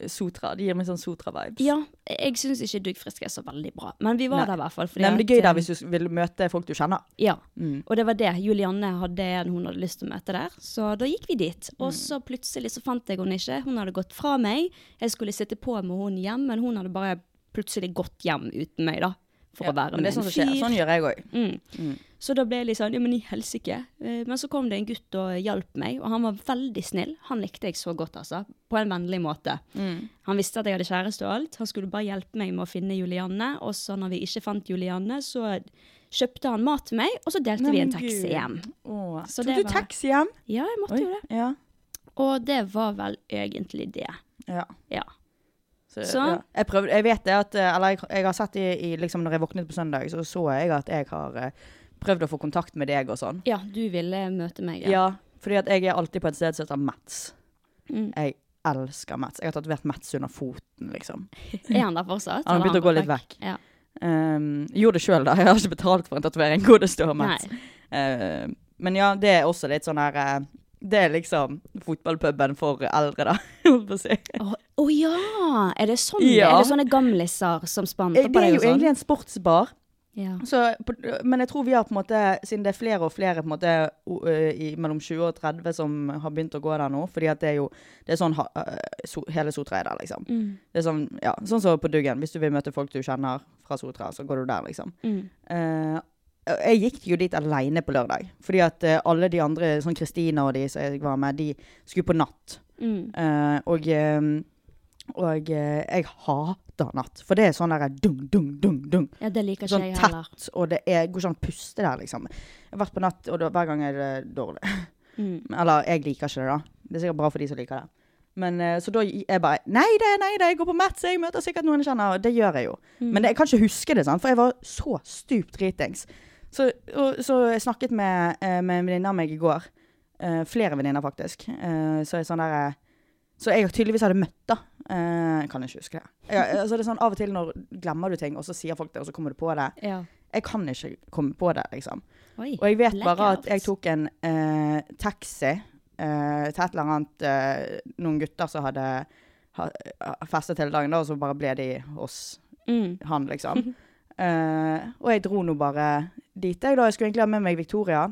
Sotra. Det gir meg sånn Sotra-vibes.
Ja, jeg syns ikke Duggfrisk er så veldig bra, men vi var
Nei.
der i hvert fall. fordi
Nei, men det
at,
er gøy
eh,
der hvis du vil møte folk du kjenner.
Ja,
Mm.
og det var det. Julianne hadde en hun hadde lyst til å møte der, så da gikk vi dit.
Mm.
Og så plutselig så fant jeg henne ikke. Hun hadde gått fra meg. Jeg skulle sitte på med henne hjem, men hun hadde bare plutselig gått hjem uten meg, da. For å være
men det
med
er sånn
en
som skjer.
fyr.
Sånn gjør jeg òg.
Mm. Så da ble jeg litt sånn, ja, men i helsike. Eh, Men så kom det en gutt og hjalp meg, og han var veldig snill. Han likte jeg så godt, altså. På en vennlig måte.
Mm.
Han visste at jeg hadde kjæreste og alt. Han skulle bare hjelpe meg med å finne Julianne, og så når vi ikke fant Julianne, så kjøpte han mat til meg, og så delte vi en
Men
taxi
Gud.
hjem. Så
Tok
det
du
var-
taxi hjem?
Ja, jeg måtte
Oi,
jo det.
Ja.
Og det var vel egentlig det.
ja.
Ja.
Så,
Så-
ja. Jeg, prøvde, jeg vet det at eh, Eller jeg, jeg har sett i, i liksom Når jeg våknet på søndag, så så jeg at jeg har eh, prøvd å få kontakt med deg og sånn.
Ja, du ville møte meg,
Ja. Fordi at jeg er alltid på et sted som heter Mats.
Mm.
Jeg elsker Mats. Jeg har tatovert Mats under foten, liksom.
Er han der fortsatt?
Han har
eller
begynt å gå litt vekk.
Ja.
Um, gjorde det sjøl, da. Jeg har ikke betalt for en tatovering hvor det står Mats.
Nei.
Eh, men ja, det er også litt sånn her eh, Det er liksom fotballpuben for eldre, da. holdt på å si.
Å å ja! Er det sånn?
Ja.
Er det sånne gamliser som spanter
Eh,
på
Det er
deg
jo
og sånn?
egentlig en sportsbar,
Ja.
så, på- men jeg tror vi har på en måte Siden det er flere og flere på en måte o- eh, i, mellom 20 og 30 som har begynt å gå der nå, fordi at det er jo Det er sånn ha- eh, so, hele Sotra er der, liksom.
Mm.
Det er sånn, ja, sånn som på Duggen. Hvis du vil møte folk du kjenner fra Sotra, så går du der, liksom.
Mm.
Eh, jeg gikk jo dit alene på lørdag. Fordi at eh, alle de andre, sånn Kristina og de som jeg var med, de skulle på natt.
Mm.
Eh, og eh, og eh, jeg hater natt. For det er sånn derre dung, dung, dung, dung.
Ja, det liker ikke
Sånn
jeg heller.
tett, og det er, går ikke an å puste der, liksom. Jeg har vært på natt, og da, hver gang er det dårlig.
Mm.
Eller jeg liker ikke det, da. Det er sikkert bra for de som liker det. Men eh, Så da gi- jeg bare Nei det, nei det, jeg går på Mats, jeg møter sikkert noen jeg kjenner. Og det gjør jeg jo.
Mm.
Men det, jeg kan ikke huske det, sant? for jeg var så stupt dritings. Så, og, så jeg snakket med, eh, med en venninne av meg i går. Eh, flere venninner, faktisk. Eh, så jeg sånn der eh, Så jeg tydeligvis hadde møtt, da. Eh, kan ikke huske det. Ja, altså det er sånn, av og til når glemmer du ting, og så sier folk det, og så kommer du på det.
Ja.
Jeg kan ikke komme på det, liksom.
Oi.
Og jeg vet bare
blackout.
at jeg tok en eh, taxi eh, til et eller annet eh, Noen gutter som hadde ha, festet hele dagen, da, og så bare ble de hos
Mm.
han, liksom. Eh, og jeg dro nå bare dit. Jeg, da. jeg skulle egentlig ha med meg Victoria.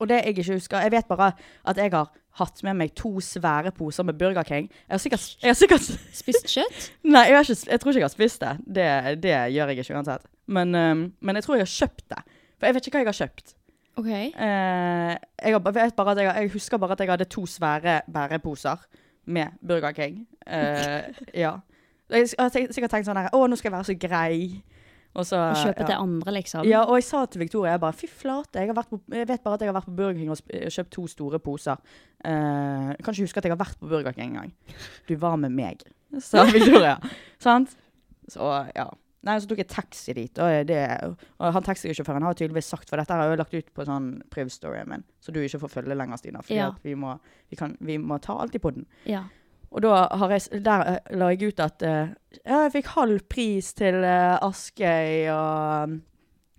Og det jeg ikke husker Jeg vet bare at jeg har hatt med meg to svære poser med Burger King. Jeg har sikkert, jeg har sikkert
Spist kjøtt?
Nei, jeg, har ikke, jeg tror ikke jeg har spist det. Det, det gjør jeg ikke uansett. Men, eh, men jeg tror jeg har kjøpt det. For jeg vet ikke hva jeg har kjøpt.
OK.
Eh, jeg, har, bare- vet bare at jeg, har- jeg husker bare at jeg hadde to svære bæreposer med Burger King. Eh, ja. Jeg har tenkt- sikkert tenkt sånn her Å, nå skal jeg være så grei. Og så
Å kjøpe
ja.
til andre, liksom?
Ja, og jeg sa til Victoria jeg bare, fy flate, jeg, har vært på, jeg vet bare at jeg har vært på Burger King og sp- eh, kjøpt to store poser. Eh, jeg kan ikke huske at jeg har vært på Burger King engang. Du var med meg, sa Victoria. Sant? Så ja. Nei, så tok jeg taxi dit, og, det, og han taxisjåføren har tydeligvis sagt, for dette har jeg jo lagt ut på sånn priv-storyen min, så du ikke får følge lenger, Stina, fordi
Ja.
at vi må, vi, kan, vi må ta alltid på den.
Ja.
Og da har jeg, s- der eh, la jeg ut at eh, ja, jeg fikk halv pris til eh, Askøy og,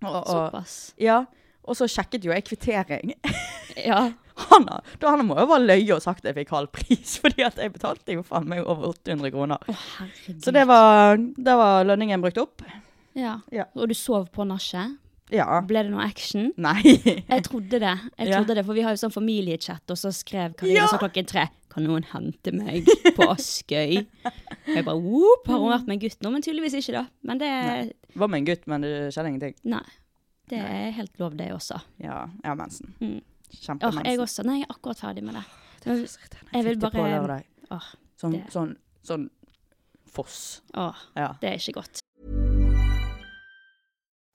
og, og
Såpass.
Ja. Og så sjekket jo jeg kvittering.
Ja.
Han, har- da han må jo bare løye og sagt at jeg fikk halv pris, fordi at jeg betalte jo faen meg over 800 kroner.
Å, herregud.
Så det var, da var lønningen brukt opp.
ja.
Ja.
Og du sov på nachet?
Ja.
Ble det noe action?
Nei.
Jeg trodde det, jeg
Ja.
trodde det, for vi har jo sånn familiechat, og så skrev Karina
Ja.
så klokken tre Kan noen hente meg på Askøy? Og jeg bare whoop, har hun vært med en gutt nå? Men tydeligvis ikke, da. Men det
Det var med en gutt, men det skjedde ingenting.
Nei. Det er helt lov, det også.
Ja, jeg har mensen.
Mm. Åh,
Kjempemensen.
jeg også. Nei, jeg er akkurat ferdig med det.
Det er så irriterende.
Jeg vil
fikk det på
bare-
lørdag.
Åh,
Sånn,
det-
sånn, sånn foss.
åh,
Ja.
det er ikke godt.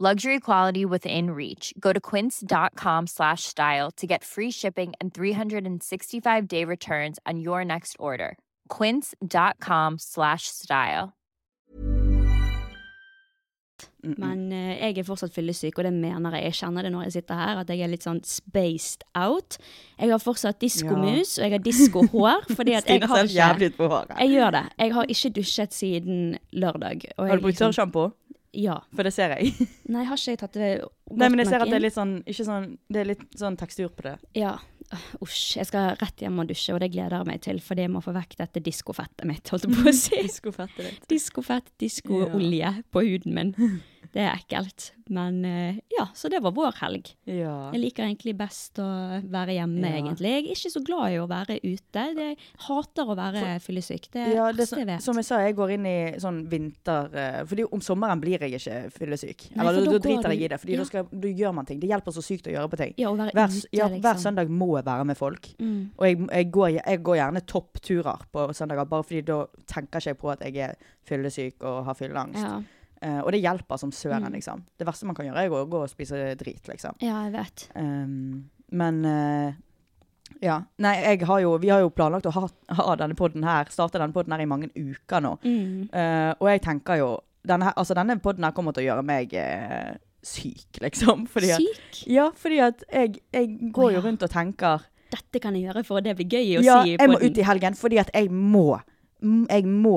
Luxury quality within reach. Go to quince.com slash style to get free shipping and 365 day returns on your next order. Quince.com slash style.
Mm -mm.
Men eh, jeg er fortsatt fyllesyk, og det mener jeg. Jeg kjenner det når jeg sitter her, at jeg er litt sånn spaced out. Jeg har fortsatt diskomus, og jeg har diskohår, fordi at jeg
Stina
har
ser jævlig
ikke
ut på håret.
Jeg gjør det. Jeg har ikke dusjet siden lørdag. og
Har
jeg
du brukt
liksom-
tørrsjampo?
Ja.
For det ser jeg.
Nei, har ikke jeg tatt det godt
Nei, men jeg
nok
ser at det er
inn?
litt sånn, ikke sånn, det er litt sånn tekstur på det.
Ja. Øh, Usj. Jeg skal rett hjem og dusje, og det gleder jeg meg til, fordi jeg må få vekk dette diskofettet mitt, holdt jeg på å si.
Diskofettet ditt.
Diskofett, diskoolje på huden min. Det er ekkelt. Men eh, ja, så det var vår helg.
Ja.
Jeg liker egentlig best å være hjemme,
Ja.
egentlig. Jeg er ikke så glad i å være ute. Det- Jeg hater å være fyllesyk. Det er
Ja,
det
det,
verste
er
jeg
så,
vet.
som jeg sa, jeg går inn i sånn vinter eh, Fordi om sommeren blir jeg ikke fyllesyk.
Nei,
Eller
for
da,
da
da
går
driter jeg
du-
i det, Fordi
ja.
da, skal, da gjør man ting. Det hjelper så sykt å gjøre på ting.
Ja, å være
hver,
ute,
ja,
liksom.
hver søndag må jeg være med folk.
Mm.
Og jeg, jeg, går, jeg går gjerne toppturer på søndager, bare fordi da tenker ikke jeg på at jeg er fyllesyk og har fylleangst.
Ja.
Eh, og det hjelper som søren,
Mm.
liksom. Det verste man kan gjøre, er å gå og spise drit, liksom.
ja, jeg vet.
Um, men eh, ja. Nei, jeg har jo, vi har jo planlagt å ha, ha denne podden her, starte denne podden her i mange uker nå.
Mm.
Eh, og jeg tenker jo Denne, her, altså, denne podden her kommer til å gjøre meg eh, syk, liksom. Fordi at,
Syk?
ja, fordi at jeg, jeg går
Å, ja.
jo rundt og tenker
Dette kan jeg gjøre, for det blir gøy å
Ja,
si
jeg må
podden.
ut i helgen fordi at jeg må m- jeg må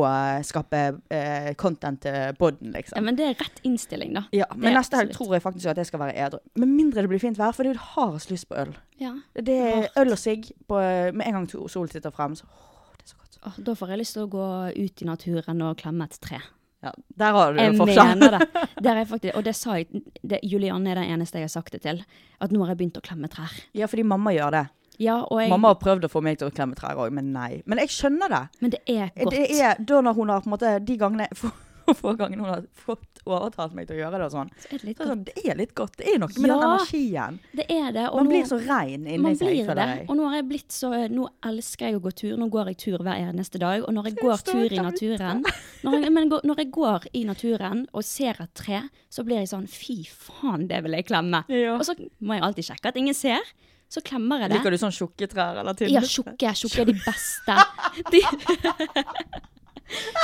skape eh, content til podden, liksom.
Ja, men det er rett innstilling, da.
Ja,
Det
men
er
neste helg
absolutt.
tror jeg faktisk at jeg skal være edru. Med mindre det blir fint vær, for du har så lyst på øl.
Ja.
Det er øl og sigg på eh, Med en gang to- solen sitter frem, så åh, det er så godt.
Åh, da får jeg lyst til å gå ut i naturen og klemme et tre.
Ja, der har du
Jeg
forskjell.
mener det. Der er jeg faktisk, og det sa jeg det, Julianne er den eneste jeg har sagt det til. At nå har jeg begynt å klemme trær.
Ja, fordi mamma gjør det.
Ja, og jeg,
Mamma har prøvd å få meg til å klemme trær òg, men nei. Men jeg skjønner det.
Men det er godt.
Det er da når hun har på en måte De gangene få- få gangene hun har fått overtalt meg til å gjøre det og sånn.
Så er det litt
Så er det sånn, det er litt godt. Det er noe med den
Ja.
energien.
Det er det. og
Man
nå-
blir så rein inni
man
seg,
blir
føler
det.
jeg.
Og nå har jeg blitt så Nå elsker jeg å gå tur. Nå går jeg tur hver eneste dag. Og når jeg
Jeg
går
står
tur i
der
naturen når jeg, men går- når jeg går i naturen og ser et tre, så blir jeg sånn Fy faen, det vil jeg klemme.
Ja.
Og så må jeg alltid sjekke at ingen ser. Så klemmer jeg det.
Liker du sånn tjukke trær eller tynne?
Ja, tjukke. Tjukke er de beste. De...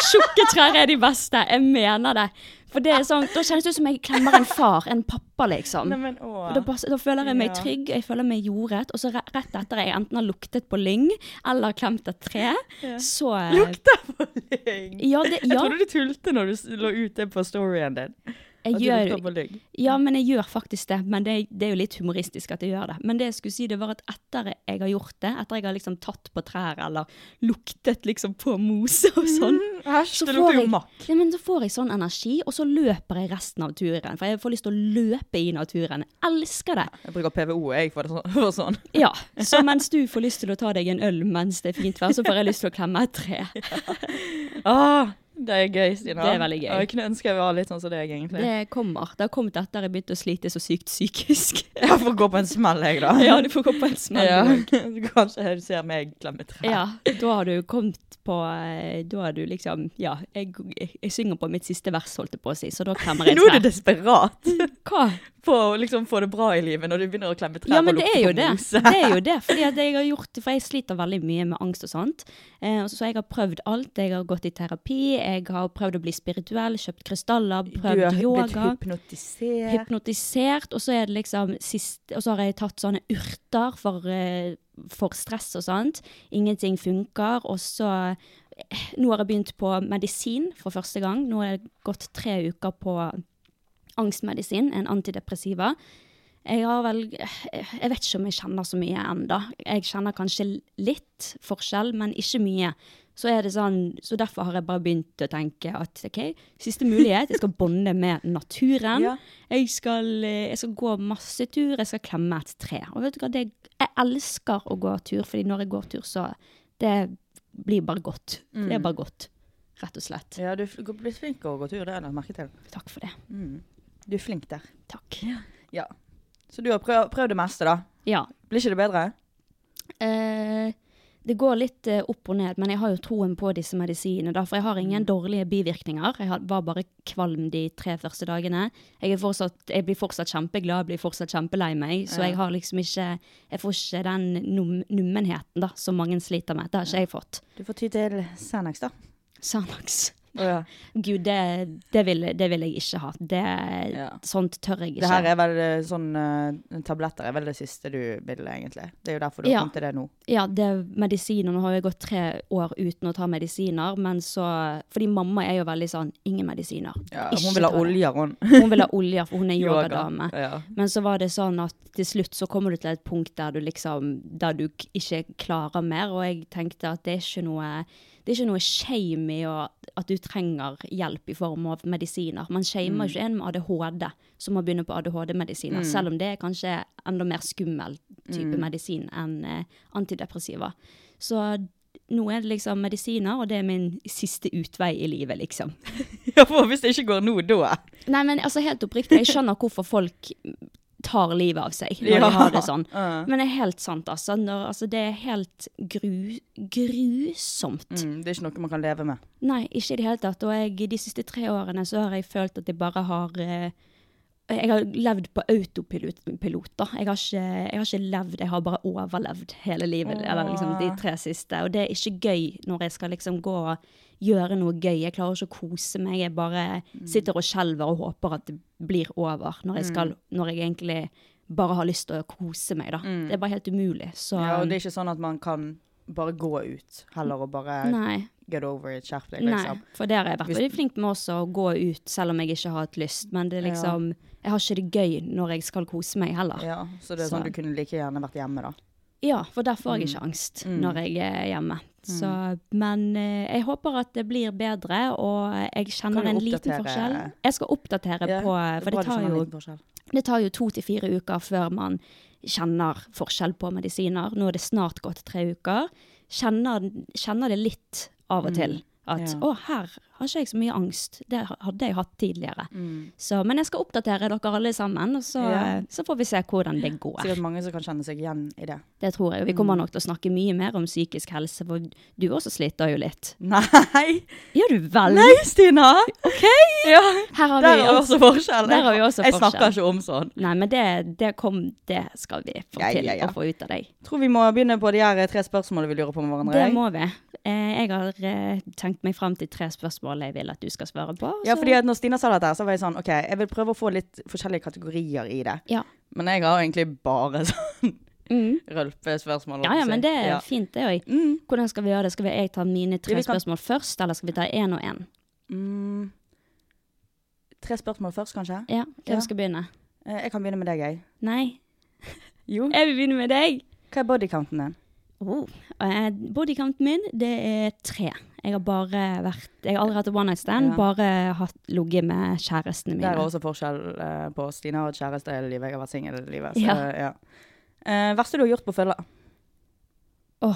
Tjukke trær er de beste. Jeg mener det. For det er sånn, Da kjennes det ut som jeg klemmer en far, en pappa, liksom.
Nei, men, åh.
Og da, pass- da føler jeg meg
Ja.
trygg, jeg føler meg jordet. Og så re- rett etter jeg enten har luktet på lyng eller klemt et tre, så
Lukter på lyng.
Ja, det,
Jeg
ja
trodde du tulte når du s- lå ute på storyen din.
jeg
At du lukter
gjør,
på lyng.
ja, men jeg gjør faktisk det. Men det, det er jo litt humoristisk at jeg gjør det. Men det jeg skulle si, det var at etter jeg har gjort det, etter jeg har liksom tatt på trær eller luktet liksom på mose og sånn,
Æsj,
så
Mm.
får
det lukter jo
jeg-
makk.
Ja, men så får jeg sånn energi, og så løper jeg resten av turen. For jeg får lyst til å løpe i naturen. Jeg elsker det.
Jeg bruker PVO jeg for, det sånn, for sånn.
Ja, Så mens du får lyst til å ta deg en øl mens det er fint vær, så får jeg lyst til å klemme et tre.
Ah, det er gøy, Stina.
Det er veldig gøy.
Og jeg kunne ønske jeg var litt sånn som deg, egentlig.
Det kommer. Det har kommet etter jeg begynte å slite så sykt psykisk.
Jeg får gå på en smell, jeg, da.
Ja, du får gå på en smell.
Ja.
du også.
Kanskje du ser meg klemme trær.
Ja, da har du kommet på eh, Da har du liksom Ja, jeg, jeg synger på mitt siste vers, holdt jeg på å si, så da klemmer jeg
Nå
et
er du
tre.
desperat
Hva?
på å liksom få det bra i livet når du begynner å klemme trær.
Ja, men
og
det
lukte
er jo
på
det.
mose.
Det er jo det, fordi at jeg har gjort, for jeg sliter veldig mye med angst og sånt. Eh, og så jeg har prøvd alt. Jeg har gått i terapi, jeg har prøvd å bli spirituell, kjøpt krystaller,
Du
prøvd
har blitt
yoga.
hypnotisert.
Hypnotisert, og så er det liksom sist, og så har jeg tatt sånne urter for, eh, for stress og sånt. Ingenting funker, og så eh, Nå har jeg begynt på medisin for første gang. Nå har jeg gått tre uker på angstmedisin, en antidepressiva. Jeg har vel Jeg vet ikke om jeg kjenner så mye ennå. Jeg kjenner kanskje litt forskjell, men ikke mye. Så, er det sånn, så derfor har jeg bare begynt å tenke at OK, siste mulighet. Jeg skal bonde med naturen.
Ja.
Jeg, skal, eh, jeg skal gå masse tur. Jeg skal klemme et tre. Og vet du hva, det, jeg elsker å gå tur, fordi når jeg går tur, så Det blir bare godt. Det
Mm.
er bare godt, rett og slett.
Ja, du er fl- blitt flink til å gå tur, det har jeg lagt merke til.
Takk for det.
Du er flink der.
Takk.
Ja. Så du har prøvd, prøvd det meste, da.
Ja.
Blir ikke det bedre?
Eh, det går litt eh, opp og ned, men jeg har jo troen på disse medisinene. Da, for jeg har
Mm.
ingen dårlige bivirkninger. Jeg har- var bare kvalm de tre første dagene. Jeg, er fortsatt, jeg blir fortsatt kjempeglad, jeg blir fortsatt kjempelei meg. Så jeg har liksom ikke Jeg får ikke den num nummenheten da, som mange sliter med. Det har ikke jeg fått.
Du får ty til Xanax, da.
Sanax.
ja.
Gud, det, det, vil, det vil jeg ikke ha. Det,
Ja.
Sånt tør jeg ikke.
Det her er vel eh, sånn eh, Tabletter er vel det siste du vil, egentlig. Det er jo derfor du
Ja.
kom til det nå.
Ja, det er medisiner. Nå har jeg gått tre år uten å ta medisiner, men så Fordi mamma er jo veldig sånn ingen medisiner. Ikke
hun vil ha
ta det.
olje, hun.
Hun vil ha olje, for hun er
Yoga.
yogadame.
Ja.
Men så var det sånn at til slutt så kommer du til et punkt der du liksom Der du k- ikke klarer mer, og jeg tenkte at det er ikke noe det er ikke noe shame i å- at du trenger hjelp i form av medisiner. Man
Mm.
shamer ikke en med ADHD som må begynne på ADHD-medisiner, selv om det er kanskje enda mer skummel type
Mm.
medisin enn eh, antidepressiva. Så nå er det liksom medisiner, og det er min siste utvei i livet, liksom.
ja, for hvis det ikke går nå, da
Nei, men altså helt oppriktig, jeg skjønner hvorfor folk tar livet av seg når
Ja.
de har det sånn. Men det er helt sant, altså. Når, altså det er helt gru, grusomt.
mm, Det er ikke noe man kan leve med.
Nei, ikke i det hele tatt. Og jeg, de siste tre årene så har jeg følt at jeg bare har eh, jeg har levd på autopilot. Pilot, da. Jeg, har ikke, jeg har ikke levd, jeg har bare overlevd hele livet. Eller liksom de tre siste. Og det er ikke gøy når jeg skal liksom gå og gjøre noe gøy. Jeg klarer ikke å kose meg. Jeg bare sitter og skjelver og håper at det blir over. Når jeg, skal, når jeg egentlig bare har lyst til å kose meg, da. Det
Mm.
er bare helt umulig. Så
Ja, og det er ikke sånn at man kan bare gå ut heller og bare
Nei.
get over it, skjerp deg,
Nei,
liksom.
for der har jeg vært veldig flink med også å gå ut selv om jeg ikke har hatt lyst. Men det er liksom Jeg har ikke det gøy når jeg skal kose meg heller. Ja,
Ja, så det er
Så-
sånn du kunne like gjerne vært hjemme, da.
for der får
Mm.
jeg ikke angst når jeg er hjemme. Så, men eh, jeg håper at det blir bedre, og jeg kjenner
Kan
en
du
liten
oppdatere-
forskjell. Jeg skal oppdatere
Ja,
på
det er
For
bra
det
du
tar
kjenner en
jo
liten forskjell.
Det tar jo to til fire uker før man kjenner forskjell på medisiner. Nå er det snart gått tre uker. Kjenner, kjenner det litt av og til. At
Mm. Ja.
'å, her har ikke jeg så mye angst'. Det hadde jeg hatt tidligere. Så, men jeg skal oppdatere dere alle sammen, og så,
Mm.
eh,
Ja.
så får vi se hvordan det går.
Sikkert mange som kan kjenne seg igjen i det.
Det tror jeg. Vi
Mm.
kommer nok til å snakke mye mer om psykisk helse, for du også sliter jo litt.
Nei!
Gjør du vel?
Nei, Stina!
OK!
Ja,
Her har
der
vi
er også forskjell.
Der har vi også
jeg
forskjell.
snakker ikke om sånn.
Nei, men det, det, kom, det skal vi få
Ja,
til
ja, ja.
å få ut av deg.
Tror vi må begynne på de her tre spørsmålene vi lurer på med hverandre.
Det må vi. Eh, jeg har eh, tenkt meg frem til tre spørsmål jeg vil at du skal svare på.
Ja,
så-
fordi at når Stina sa dette, her, så var jeg sånn OK, jeg vil prøve å få litt forskjellige kategorier i det.
ja.
Men jeg har egentlig bare sånn
Mm.
rølpespørsmål.
ja, ja, men det er
Ja. Mm,
fint det òg. Hvordan skal vi gjøre det? Skal vi- jeg ta mine tre
Ja, vi kan-
spørsmål først, eller skal vi ta én og én?
Mm. Tre spørsmål først, kanskje?
Ja, hvem
Ja.
skal begynne?
Eh, Jeg kan begynne med deg, jeg.
Nei,
Jo.
jeg vil begynne med deg.
Hva er bodycounten din?
Oh. eh, Bodycounten min, det er tre. Jeg har bare vært Jeg har aldri hatt en one night stand,
Ja.
bare hatt ligget med kjærestene mine.
Der er også forskjell eh, på Stina har et kjæreste i livet, jeg har vært singel i livet. Så,
Ja.
ja. Eh, verste du har gjort på fylla?
Åh,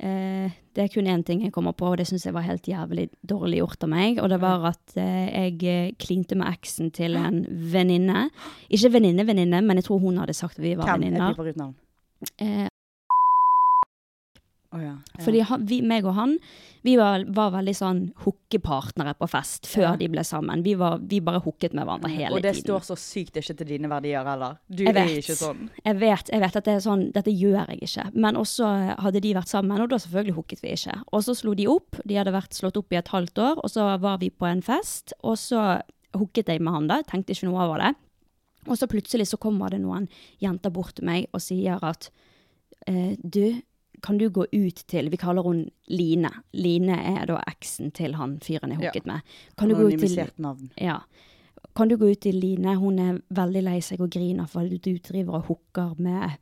eh, det er kun én ting jeg kommer på, og det syns jeg var helt jævlig dårlig gjort av meg. Og det var at eh, jeg eh, klinte med eksen til en venninne. Ikke venninne-venninne, men jeg tror hun hadde sagt at vi var
Hvem? Jeg
venninner.
piper ut navn.
Eh,
Å ja. ja.
fordi han, vi, meg og han, vi var, var veldig sånn hookepartnere på fest før
Ja.
de ble sammen. Vi, var, vi bare hooket med hverandre hele tiden.
Og det står så sykt ikke til dine verdier heller. Du
Jeg
er
vet.
ikke sånn.
Jeg vet, jeg vet at det er sånn, dette gjør jeg ikke. Men også eh, hadde de vært sammen, og da selvfølgelig hooket vi ikke. Og så slo de opp, de hadde vært slått opp i et halvt år, og så var vi på en fest, og så hooket jeg med han da, tenkte ikke noe over det. Og så plutselig så kommer det noen jenter bort til meg og sier at eh, du, kan du gå ut til, vi kaller hun Line. Line er da eksen til han fyren jeg
Ja.
hooket med. Kan du gå ut til...
Anonymisert navn.
Ja. Kan du gå ut til Line? Hun er veldig lei seg og griner for at du driver og hooker med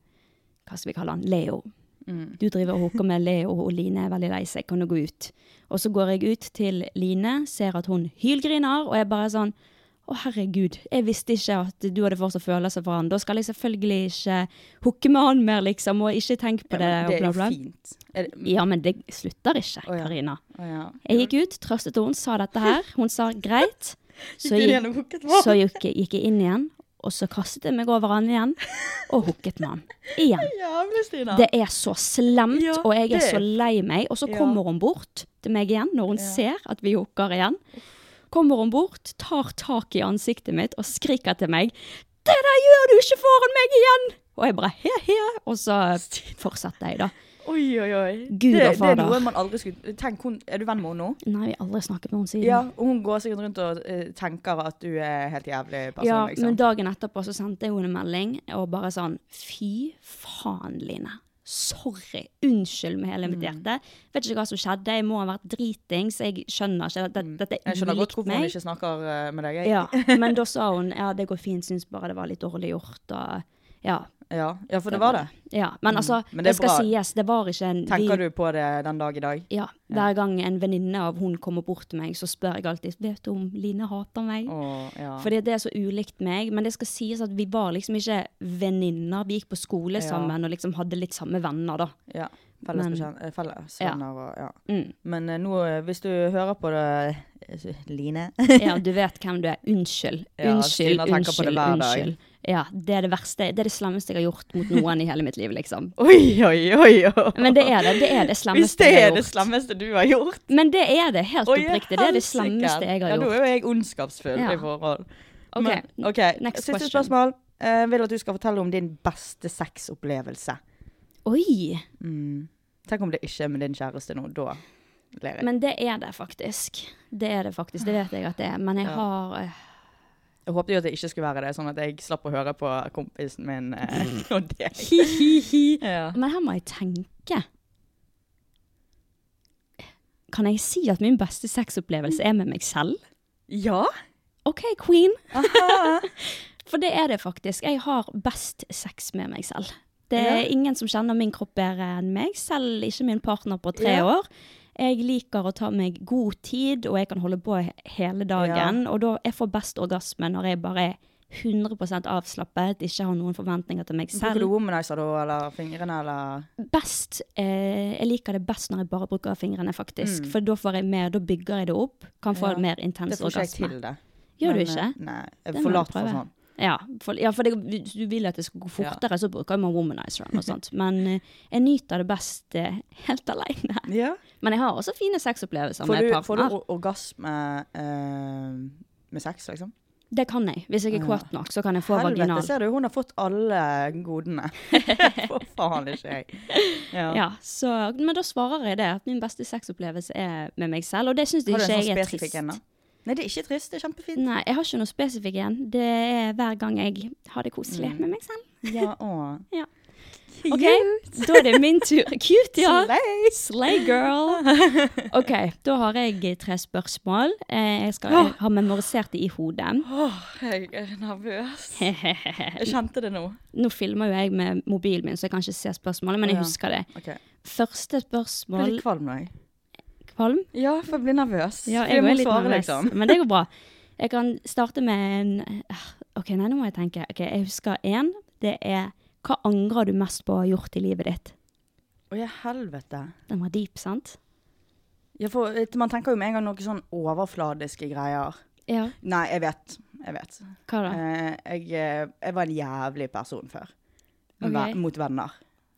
Hva skal vi kalle han? Leo.
Mm.
Du driver og hooker med Leo, og Line er veldig lei seg. Kan du gå ut? Og så går jeg ut til Line, ser at hun hylgriner, og jeg bare sånn å, herregud, jeg visste ikke at du hadde fortsatt følelser for han. Da skal jeg selvfølgelig ikke hooke med han mer, liksom, og ikke tenke på
Ja,
det.
men det er
og
jo
bla, bla.
fint. Er det,
Ja, men det slutter ikke,
Å, ja.
Karina.
å ja.
Jeg gikk ut, trøstet henne, sa dette her. Hun sa greit. Så
Gikk du
gikk,
igjen og hooket med han?
så gikk, jeg- gikk jeg inn igjen, og så kastet jeg meg over han igjen, og hooket med han. Igjen.
Jævlig, Stina.
Det er så slemt,
Ja,
og jeg er
det-
så lei meg. Og så
Ja.
kommer hun bort til meg igjen, når hun ser at vi hooker igjen. Kommer hun bort, tar tak i ansiktet mitt og skriker til meg 'Det der gjør du ikke foran meg igjen!' Og jeg bare he-he, og så fortsetter jeg, da.
Oi, oi, oi.
Gud
det,
og
det er
fader. Mm.
noe man aldri skulle Tenk, hun, er du venn med henne nå?
Nei, vi har aldri snakket med henne siden.
Ja, og hun går sikkert rundt og eh, tenker at du er helt jævlig person,
ja,
liksom.
men dagen etterpå så sendte jeg henne en melding og bare sånn Fy faen, Line. Sorry. Unnskyld med hele mitt
Mm.
hjerte. Vet ikke hva som skjedde. Jeg må ha vært dritings. Jeg skjønner ikke. Dette, dette
Mm. jeg
er
skjønner godt
ulikt
hvorfor hun
meg.
ikke snakker eh, med deg. jeg.
Ja, men da sa hun ja, det går fint, syns bare det var litt dårlig gjort. Og ja.
Ja. ja, for det var det.
Ja, men altså,
Mm.
det,
Men det er
skal
bra.
sies, det var ikke en vi-
Tenker du på det den dag i dag?
Ja, Hver gang en venninne av hun kommer bort til meg, så spør jeg alltid Vet du om Line hater meg?
Åh, ja.
Fordi det er så ulikt meg, men det skal sies at vi var liksom ikke venninner. Vi gikk på skole
Ja.
sammen og liksom hadde litt samme venner, da.
ja.
Men-
Fellesbekjent Fellesvenner og ja.
Mm.
Men eh, nå, eh, hvis du hører på det eh, s- Line
Ja, du vet hvem du er. Unnskyld.
Ja,
Unnskyld,
Stina tenker på
unnskyld,
det hver dag.
unnskyld. Ja, det er det verste. Det er det slemmeste jeg har gjort mot noen i hele mitt liv, liksom.
Oi, oi, oi, oi.
Men det er det. Det er det
Hvis
slemmeste
det
jeg
er
har
det
gjort.
slemmeste du har gjort
Men det er det, helt
Oi,
oppriktig. Det er det
helsike.
slemmeste jeg har
Ja, nå
gjort.
er jo jeg ondskapsfull
Ja.
i forhold.
Ok,
Men, ok,
next
Siste
question.
spørsmål. Jeg vil at du skal fortelle om din beste sexopplevelse.
Oi!
Tenk om det ikke er med din kjæreste nå. Da ler jeg.
Men det er det faktisk. Det er det faktisk. Det vet jeg at det er. Men jeg har eh,
jeg håpet jo at det ikke skulle være det, sånn at jeg slapp å høre på kompisen min eh, og deg.
Hi-hi-hi.
Ja.
Men her må jeg tenke. Kan jeg si at min beste sexopplevelse er med meg selv?
Ja?
OK, queen. For det er det faktisk. Jeg har best sex med meg selv. Det er ingen som kjenner min kropp bedre enn meg, selv ikke min partner på tre
Ja.
år. Jeg liker å ta meg god tid, og jeg kan holde på he- hele dagen. Og da jeg får best orgasme når jeg bare er 100 avslappet, ikke har noen forventninger til meg
Bruker du
selv.
womanizer da, eller fingrene, eller
Best, eh, Jeg liker det best når jeg bare bruker fingrene, faktisk. For da får jeg mer, da bygger jeg det opp. Kan få
Mm. Ja.
mer intens
Det får ikke jeg
orgasme.
til det.
Gjør
Men,
du ikke?
eh, Nei. Jeg
Det
er
må
for
du
lat for
prøve.
sånn.
Ja, for, ja, for det, hvis du vil at det skal gå
Ja.
fortere, så bruker man womanizer og sånt. Men eh, jeg nyter det best eh, helt alene.
Ja.
Men jeg har også fine sexopplevelser
Får
med
du, får du
partner.
or- orgasme eh, med sex, liksom?
Det kan jeg. Hvis jeg er kåt nok, så kan jeg få vaginal.
ser du, hun har fått alle godene. for faen ikke jeg.
Ja, så, men da svarer jeg det, at min beste sexopplevelse er med meg selv. Og det syns
Har
ikke
du en sånn
jeg er
spesifikk
trist.
en, da? Nei, det er ikke trist. Det er kjempefint.
Nei, jeg har ikke noe spesifikk igjen. Det er hver gang jeg har det koselig med meg selv.
Ja, å.
Ja. OK, da er det min tur. Cute, ja.
Slay.
Slay girl. OK, da har jeg tre spørsmål. Eh, Jeg skal jeg har memorisert det i hodet.
Åh, jeg er nervøs. Jeg kjente det nå.
Nå filmer jo jeg med mobilen min, så jeg kan ikke se spørsmålet, men jeg husker det.
Ok. Jeg
Første
blir
spørsmål
litt kvalm nå, jeg.
Kvalm?
Ja, for jeg blir nervøs.
Ja,
For
jeg
må
er litt
svare,
nervøs,
liksom.
men det går bra. Jeg kan starte med en eh, OK, nei, nå må jeg tenke. Ok, Jeg husker én. Det er Hva angrer du mest på å ha gjort i livet ditt?
Å, ja, helvete.
Den var deep, sant?
Ja, for vet du, man tenker jo med en gang noen sånn overfladiske greier.
Ja.
Nei, jeg vet. Jeg vet.
Hva da?
Eh, jeg, eh, jeg var en jævlig person før.
Ok.
Ve- Mot venner.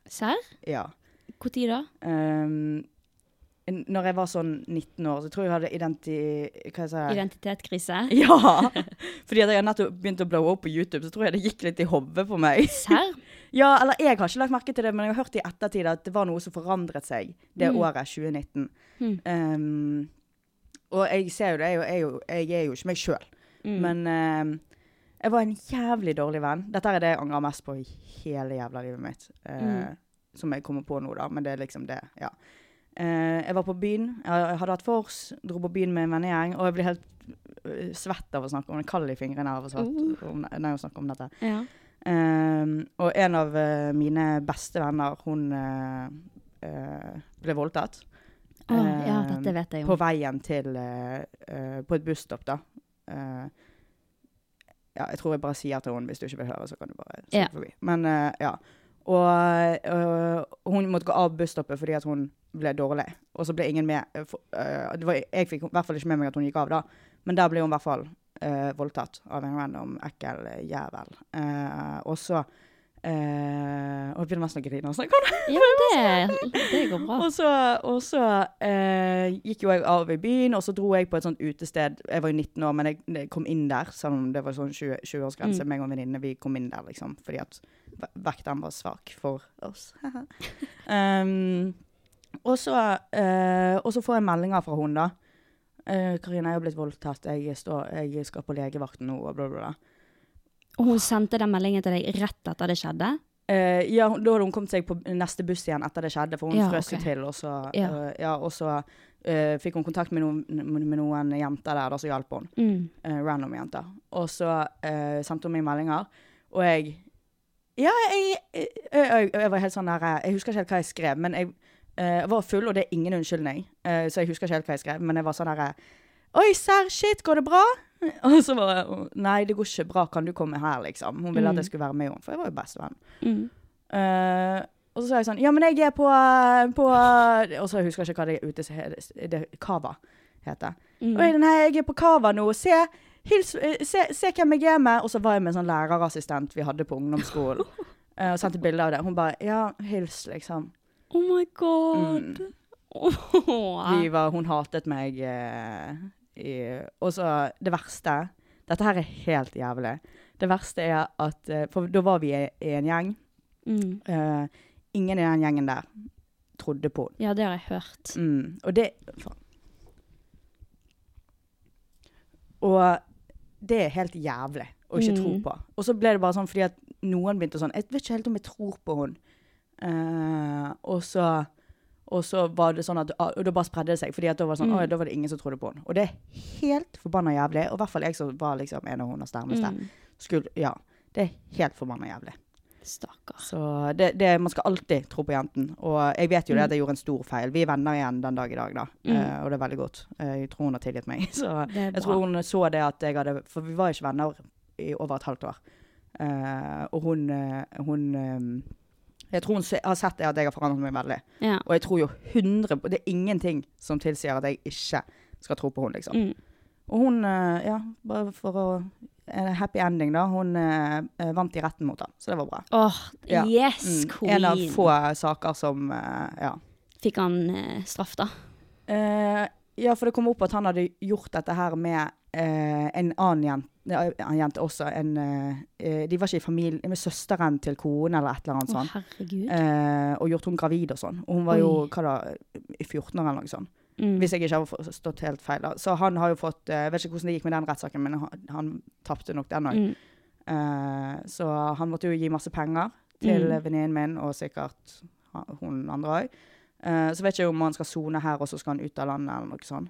Serr?
Ja.
Når da?
Um, n- når jeg var sånn 19 år, så tror jeg jeg hadde identi...
Eh.
Hva jeg sier jeg?
Identitetskrise?
Ja! Fordi at jeg hadde nettopp begynt å blowe opp på YouTube, så tror jeg det gikk litt i hodet på meg.
Serr?
Ja, eller jeg har ikke lagt merke til det, men jeg har hørt i ettertid at det var noe som forandret seg det året 2019. Um, og jeg ser jo det, jeg er jo, jeg er jo, jeg er jo ikke meg sjøl. Men um, jeg var en jævlig dårlig venn. Dette er det jeg angrer mest på i hele jævla livet mitt. Uh, Som jeg kommer på nå, da, men det er liksom det. ja. Eh, jeg var på byen, jeg jeg hadde hatt vors, dro på byen med en vennegjeng, og jeg ble helt øh, svett av å snakke om det, kald i fingrene av å svett om, nei, å snakke om dette.
Ja.
Um, og en av eh, mine beste venner, hun eh, eh, ble voldtatt.
Å, ja,
Eh,
dette vet jeg
På
jo.
veien til eh, eh, På et busstopp, da. Eh, ja, jeg tror jeg bare sier til henne hvis du ikke vil høre, så kan du bare se
Ja.
forbi. Men eh, ja. Og eh, hun måtte gå av busstoppet fordi at hun ble dårlig. Og så ble ingen med. eh, for- eh, det var, jeg fikk i hvert fall ikke med meg at hun gikk av da, men der ble hun i hvert fall eh, voldtatt av en random ekkel eh, jævel. Eh, og så eh, Og jeg begynner nesten å grine når jeg snakker om det.
Ja, men det, det går bra.
Og så, og så eh, gikk jo jeg av i byen, og så dro jeg på et sånt utested. Jeg var jo 19 år, men jeg, jeg kom inn der, selv om det var sånn 20
Mm.
20-årsgrense. meg og en venninne, vi kom inn der, liksom, fordi at ve- vekteren var svak for oss. um, og, så, eh, og så får jeg meldinger fra hun da. Eh, Karina, jeg har blitt voldtatt. Jeg, står, jeg skal på legevakten nå, og bla, bla, bla.
Og hun sendte den meldingen til deg rett etter det skjedde?
Eh, ja, hun- da hadde hun kommet seg på neste buss igjen etter det skjedde, for hun
Ja,
frøs jo
ok.
til. Og så,
Ja.
eh, ja, og så eh, fikk hun kontakt med noen, med noen jenter der, da, som hjalp henne.
Mm.
Eh, random jenter. Og så eh, sendte hun meg meldinger, og jeg Ja, jeg, jeg, jeg, jeg var helt sånn der eh, Jeg husker ikke helt hva jeg skrev, men jeg eh, var full, og det er ingen unnskyldning, eh, så jeg husker ikke helt hva jeg skrev, men jeg var sånn derre Oi, serr, shit, går det bra? Og så bare Nei, det går ikke bra, kan du komme her, liksom? Hun ville at jeg skulle være med henne, for jeg var jo bestevenn.
Mm.
Eh, og så sa jeg sånn Ja, men jeg er på, eh, på eh», Og så husker jeg ikke hva det ute he- det, Kava heter. Oi, nei, jeg er på Kava nå. Se, hils, eh, se, se hvem jeg er med. Og så var jeg med en sånn lærerassistent vi hadde på ungdomsskolen. eh, og sendte bilder av det. Hun bare Ja, hils, liksom. Mm.
Oh my god. Mm. Åh.
Vi var, hun hatet meg. eh, i, og så det verste Dette her er helt jævlig. Det verste er at eh, For da var vi i, i en gjeng.
Mm.
Eh, ingen i den gjengen der trodde på den.
Ja, det har jeg hørt.
Mm. Og det faen. Og det er helt jævlig å ikke tro på. Og så ble det bare sånn fordi at noen begynte sånn Jeg vet ikke helt om jeg tror på hun. Eh, og så Og så var det sånn at, ah, og da bare spredde det seg, fordi at da var det sånn, «Oi, da var det ingen som trodde på henne. Og det er helt forbanna jævlig. Og i hvert fall jeg som var liksom en av hennes nærmeste. Skulle, ja, det er helt forbanna jævlig.
Stakkar.
Så det, det, man skal alltid tro på jenten. Og jeg vet jo det
Mm.
at jeg gjorde en stor feil. Vi er venner igjen den dag i dag, da. Eh, og det er veldig godt. Eh, jeg tror hun har tilgitt meg. Så
Det er
jeg
bra.
tror hun så det at jeg hadde For vi var ikke venner i over et halvt år. Eh, og hun, eh, hun eh, Jeg tror hun se, har sett det at jeg har forandret meg veldig.
Ja.
Og jeg tror jo 100 på- Det er ingenting som tilsier at jeg ikke skal tro på henne, liksom.
Mm.
Og hun, eh, ja, bare for å En happy ending, da. Hun eh, eh, vant i retten mot ham, så det var bra.
Åh,
Ja.
yes,
Mm, En av
queen!
få saker som eh, ja.
Fikk han eh, straff, da?
Eh, ja, for det kom opp at han hadde gjort dette her med eh, en annen jente. En jente også. En, eh, eh, de var ikke i familie med søsteren til konen eller et eller annet
Å,
sånt.
herregud.
Sånn. Eh, og gjort hun gravid og sånn. Og hun var jo
Oi.
hva da, i 14 år eller noe sånt.
Mm.
Hvis jeg ikke har forstått helt feil. da. Så han har jo fått eh, Jeg vet ikke hvordan det gikk med den rettssaken, men han, han tapte nok den òg.
Mm.
Eh, så han måtte jo gi masse penger til
Mm.
venninnen min, og sikkert ha- hun andre òg. så vet jeg ikke om han skal sone her, og så skal han ut av landet, eller noe sånt.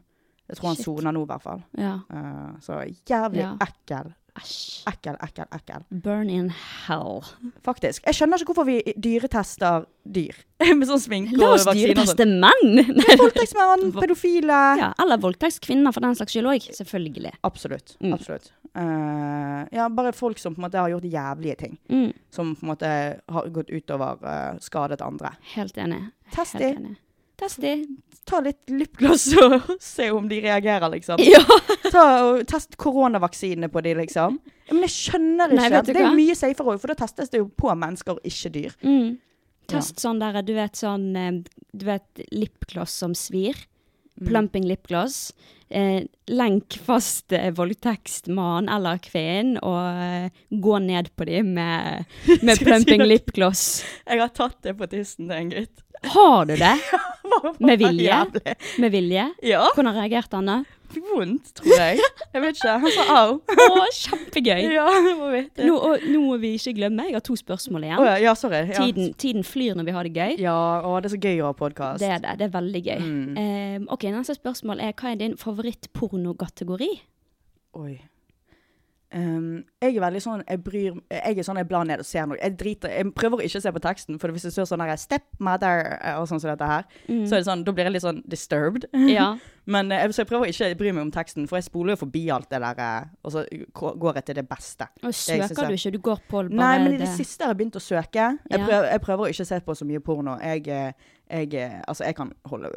Jeg tror
Shit.
han soner nå, i hvert fall.
Ja.
Eh, så jævlig
Ja.
ekkel.
Æsj.
Ekkel, ekkel, ekkel.
Burn in hell.
Faktisk. Jeg skjønner ikke hvorfor vi dyretester dyr med sånn sminke
La
og
oss
vaksiner. og sånn.
dyreteste menn! Nei,
Voldtektsmenn, pedofile
ja, eller voldtektskvinner, for den saks skyld òg. Selvfølgelig.
Absolutt.
Mm.
absolutt. Eh, ja, bare folk som på en måte har gjort jævlige ting.
Mm.
Som på en måte har gått utover eh, skadet andre.
Helt enig.
Test
Helt
de.
enig. Testi.
Ta litt lipgloss og se om de reagerer, liksom.
Ja.
Ta og Test koronavaksinene på de, liksom. Ja, Men jeg skjønner
Nei,
ikke.
vet du
det er
hva?
jo mye safere òg, for da testes det jo på mennesker, ikke dyr.
Mm. Test sånn der, du vet sånn eh, Du vet lipgloss som svir.
Mm.
Plumping lipgloss. Eh, lenk fast eh, voldtekstmann eller kvinn, og eh, gå ned på dem med, med
Skal jeg si
plumping
noe?
lipgloss.
Jeg har tatt det på tissen til en gutt.
Har du det? Med vilje?
Jævlig.
Med vilje?
Ja.
Hvordan reagerte han da?
Fikk vondt, tror jeg. Jeg vet ikke. Han sa au.
Å, kjempegøy!
Ja, det må vi vite.
Nå, og, nå må vi ikke glemme, jeg har to spørsmål igjen.
Å ja, ja, sorry. Ja.
Tiden, tiden flyr når vi har det gøy.
Ja, Mm. å, det er så gøy å ha podkast.
Det er det. Det er veldig gøy. Eh, ok, Neste spørsmål er hva er din favorittpornokategori?
Oi. Ehm, jeg er veldig sånn jeg, bryr, jeg er sånn jeg blar ned og ser noe. Jeg driter, jeg prøver å ikke se på teksten, for hvis jeg ser sånn her 'stepmother' eh, og sånn som dette her,
Mm.
så er det sånn, da blir jeg litt sånn disturbed.
Ja.
Men eh, jeg- så jeg prøver å ikke bry meg om teksten, for jeg spoler jo forbi alt det der, eh, og så k- går jeg til det beste.
Og
Det jeg synes
søker du
er-
ikke, du går på bare
Nei, men i det
det-
siste har jeg begynt å søke. Jeg,
Ja.
prøver, jeg prøver å ikke se på så mye porno. Jeg, eh, jeg, eh, altså, jeg kan holde,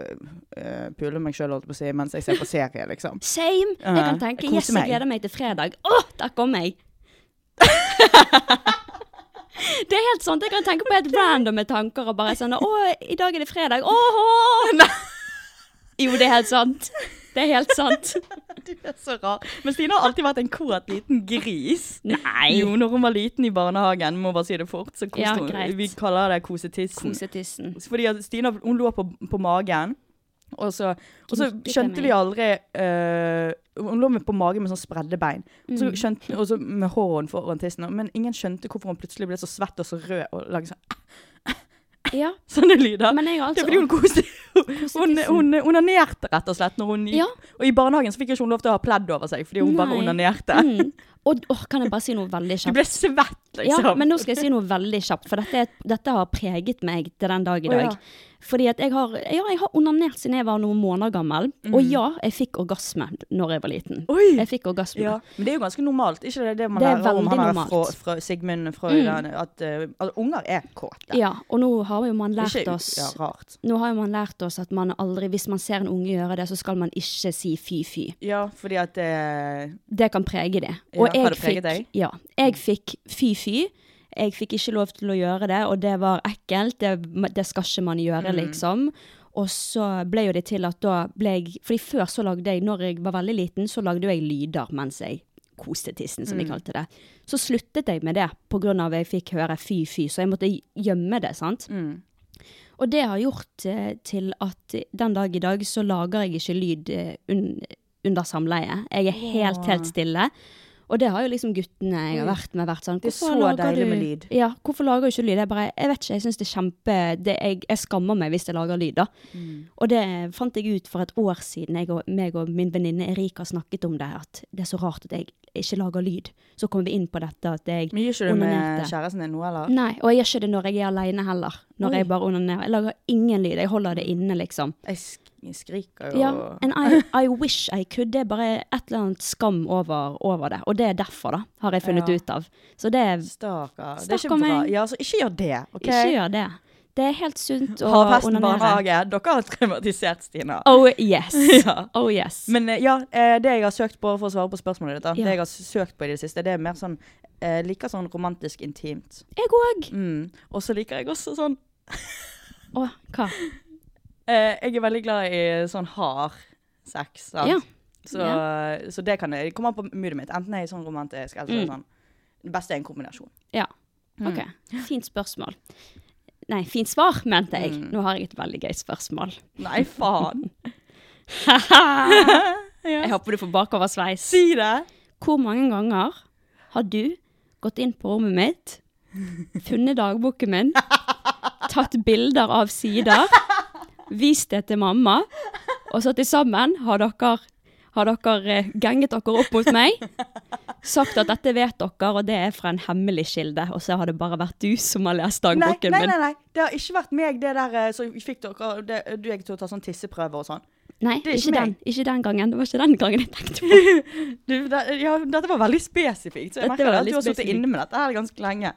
eh, pule meg sjøl, holdt jeg på å si, mens jeg ser på serie, liksom.
Same! Jeg kan
Ja,
tenke
jeg koser
yes, jeg
meg.
gleder meg til fredag. Å, der kom jeg! det er helt sånn. Jeg kan tenke på helt randomme tanker og bare sånn Å, i dag er det fredag. Åh! Jo, det er helt sant. Det er helt sant.
Du er så rar. Men Stine har alltid vært en kåt liten gris.
Nei.
Jo, når hun var liten i barnehagen, må bare si det fort, så koste
Ja, greit.
hun. Vi kaller det kosetissen.
Kosetissen.
Fordi at Stina hun lå på, på magen, og så, og så
Gnukket
skjønte
meg.
vi aldri eh, Hun lå med på magen med sånn spredde bein, og
Mm.
så, skjønte, og så med håren foran tissen. Men ingen skjønte hvorfor hun plutselig ble så svett og så rød og lagde sånn,
Ja.
sånne lyder.
Men jeg har altså
det er fordi hun koste Hun,
Kosetissen.
hun onanerte rett og slett når hun gikk.
Ja.
Og i barnehagen så fikk ikke hun lov til å ha pledd over seg, fordi hun bare
Nei.
onanerte.
Mm. Og åh, kan jeg bare si noe veldig
Du
kjapt?
ble svett, liksom.
Ja, men nå skal jeg si noe veldig kjapt, for dette, er- dette har preget meg til den dag i
Å, ja.
dag. Fordi at jeg har, ja, jeg har onanert siden jeg var noen måneder gammel. Og ja, jeg fikk orgasme når jeg var liten.
Mm. Oi!
Jeg fikk orgasme.
Ja. Men det er jo ganske normalt. Ikke det, det man
Det er
lærer om
veldig
han er
normalt. Mm.
fra, fra Sigmund Freud, at, eh, at unger er kåte.
Ja, og nå har jo man lært
Ikke-
oss
Ja, rart.
Nå har jo man lært oss at man aldri, hvis man ser en unge gjøre det, så skal man ikke si fy-fy.
Ja, fordi at eh,
Det kan prege det.
Ja, har det preget deg?
fikk, ja, jeg fikk fy-fy. Jeg fikk ikke lov til å gjøre det, og det var ekkelt. Det, det skal ikke man gjøre,
Mm.
liksom. Og så ble jo det til at da ble jeg Fordi før så lagde jeg, når jeg var veldig liten, så lagde jo jeg lyder mens jeg koste tissen,
Mm.
som de kalte det. Så sluttet jeg med det på grunn av jeg fikk høre fy-fy, så jeg måtte gjemme det, sant. Og det har gjort eh, til at den dag i dag så lager jeg ikke lyd eh, un under samleie. Jeg er helt, helt stille. Og det har jo liksom guttene jeg har vært med, vært sånn
Mm. Det er
"Hvorfor
så
lager
deilig
du-
med lyd."
Ja, hvorfor lager du ikke lyd? Jeg bare, jeg vet ikke, jeg syns det er kjempe det, jeg, jeg skammer meg hvis jeg lager lyd, da.
Mm.
Og det fant jeg ut for et år siden. Jeg og, meg og min venninne Erika snakket om det, at det er så rart at jeg ikke lager lyd. Så kom vi inn på dette at jeg
Men gir ikke du med
onanerte.
kjæresten din nå, eller?
Nei, og jeg gjør ikke det når jeg er aleine heller. Når
Oi.
jeg bare onanerer. Jeg lager ingen lyd. Jeg holder det inne, liksom.
Jeg sk jeg skriker jo.
Ja, and I, I wish I could. Det er bare et eller annet skam over, over det. Og det er derfor, da, har jeg funnet
Ja.
ut av. Så det er
Stakkar. Det er ikke
Stakkar
bra.
meg.
Ja, altså, ikke gjør det. ok?
Ikke gjør det. Det er helt sunt å
Havhesten
onanere.
barnehage, dere har traumatisert Stina.
Oh yes.
Ja.
Oh yes.
Men eh, ja, eh, det jeg har søkt på for å svare på spørsmålet ditt, da,
Ja.
det jeg har søkt på i det siste, det er mer sånn eh, Liker sånn romantisk intimt.
jeg òg.
Mm. Og så liker jeg også sånn
Å, hva?
eh, Jeg er veldig glad i sånn hard sex. Sant?
Ja.
Så, så det kan jeg komme an på moodet mitt. Enten er jeg sånn romantisk eller så
Mm.
er jeg sånn Det beste er en kombinasjon.
Ja.
Mm.
OK. Fint spørsmål. Nei, fint svar, mente jeg.
Mm.
Nå har jeg et veldig gøy spørsmål.
Nei, faen.
Jeg håper du får bakoversveis.
Si det!
Hvor mange ganger har du gått inn på rommet mitt, funnet dagboken min, tatt bilder av sider, vist det til mamma, og så til sammen har dere, har dere eh, ganget dere opp mot meg, sagt at dette vet dere, og det er fra en hemmelig kilde, og så har det bare vært du som har lest
Nei,
dagboken
nei, nei,
min.
nei. Det har ikke vært meg, det der eh, som fikk dere det, Du gikk til å ta sånn tisseprøve og sånn.
Nei,
Det er ikke
ikke den,
meg.
ikke den gangen. Det var ikke den gangen jeg tenkte på.
Du, det, ja, dette var veldig spesifikt. Så jeg
Dette
merker
var
det at
veldig
du har sittet
spesifikt.
inne med dette her ganske lenge.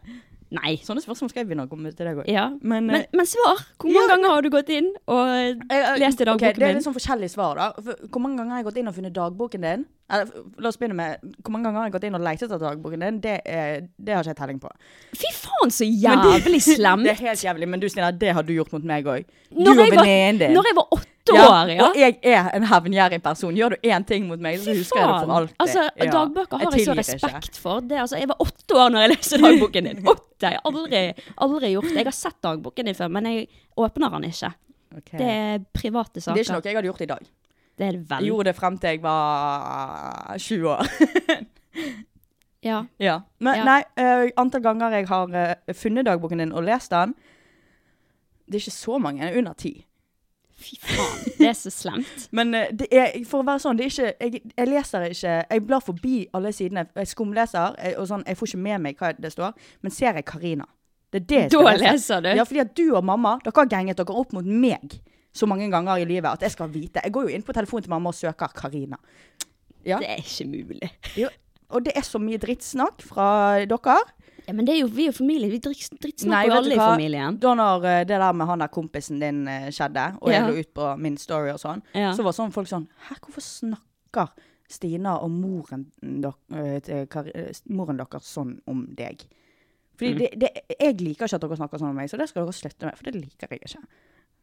Nei.
Sånne spørsmål skal jeg begynne å komme til deg òg.
Ja. Men,
Men, eh,
men, svar! Hvor mange
ja,
ganger har du gått inn og lest i dagboken
det er
min?
litt sånn forskjellige svar, da. For, hvor mange ganger har jeg gått inn og funnet dagboken din? Eller, f- la oss begynne med Hvor mange ganger har jeg gått inn og lett etter dagboken din? Det, er, det har ikke jeg telling på.
Fy faen, så jævlig slemt.
Det er helt jævlig, men du Stina, det har du gjort mot meg òg. Du
Når
og
jeg var-
venninnen din.
Når jeg var åtte år, ja.
Og jeg er en hevngjerrig person. Gjør du én ting mot meg, så
Fy
husker jeg det for
faen.
alltid.
Altså,
Ja.
Dagbøker har jeg så
tilgir ikke.
respekt for. Det, er altså, jeg var åtte år når jeg leste dagboken din. Åtte! Jeg har aldri, aldri gjort det. Jeg har sett dagboken din før, men jeg åpner den ikke.
Ok.
Det er private saker.
Det er ikke noe jeg hadde gjort i dag.
Det er det vel.
Jeg gjorde det frem til jeg var 20 år.
Ja.
Ja. Men
Ja.
nei, eh, antall ganger jeg har eh, funnet dagboken din og lest den Det er ikke så mange, det er under ti.
Fy faen, det er så slemt.
Men eh, det er, for å være sånn, det er ikke Jeg, jeg leser ikke Jeg blar forbi alle sidene. Jeg skumleser, jeg, og sånn, jeg får ikke med meg hva det står. Men ser jeg Karina. Det er det jeg
Da
skal lese.
leser du.
Ja, fordi at du og mamma dere har ganget dere opp mot meg så mange ganger i livet at jeg skal vite. Jeg går jo inn på telefonen til mamma og søker Karina. Ja.
Det er ikke mulig.
Jo, Og det er så mye drittsnakk fra dere.
Ja, men det er jo, vi er jo familie. Vi drikk-
Nei,
drittsnakker jo
vet du
alle i
hva?
familien.
Da når eh, det der med han der kompisen din eh, skjedde, og
Ja.
jeg lå ut på min story og sånn,
Ja.
så var sånn folk sånn Hæ, hvorfor snakker Stina og moren, dok eh, til Kar- eh, moren deres sånn om deg? Fordi
Mm.
det, det, jeg liker ikke at dere snakker sånn om meg, så det skal dere slutte med. For det liker jeg ikke.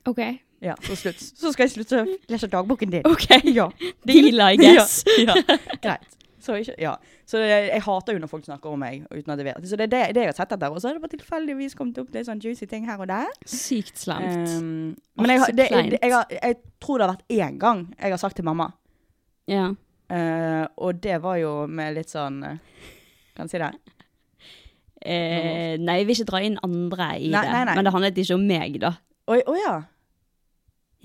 OK.
Ja, Så, slutt. så skal jeg slutte å lese dagboken din.
OK.
Ja.
Deal, I guess.
Ja, ja. Greit. Så, ikke, ja. så det, jeg hater jo når folk snakker om meg uten at jeg vet. Så det er det, det jeg har sett etter. Og så har det bare tilfeldigvis kommet opp litt sånn juicy ting her og der.
Sykt slemt.
Um,
Åh,
men jeg, har-
så
det,
kleint.
det, jeg, har, jeg tror det har vært én gang jeg har sagt til mamma,
Ja.
eh, og det var jo med litt sånn eh, Kan jeg si det?
Eh, nei, jeg vil ikke dra inn andre i
Nei,
det.
nei, nei.
Men det handlet ikke om meg, da.
Oi, Å ja.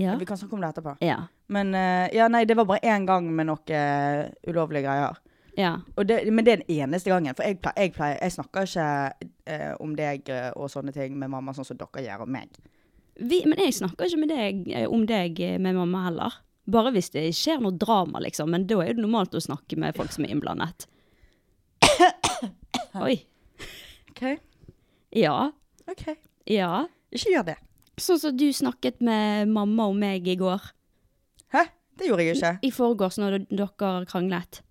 Ja.
Vi kan snakke om det etterpå.
Ja.
Men eh, ja, nei, det var bare én gang med noe eh, ulovlige greier.
ja.
Og det, men det er den eneste gangen. For jeg, pleier, jeg, pleier, jeg snakker ikke eh, om deg eh, og sånne ting med mamma, sånn som dere gjør om meg.
Vi, men jeg snakker ikke med deg, eh, om deg eh, med mamma heller. Bare hvis det skjer noe drama, liksom. Men da er det normalt å snakke med folk som er innblandet. Oi.
OK?
Ja.
ok.
Ja.
Ikke gjør det.
Sånn som du snakket med mamma og meg i går.
Hæ? Det gjorde jeg jo ikke.
I forgårs når dere kranglet.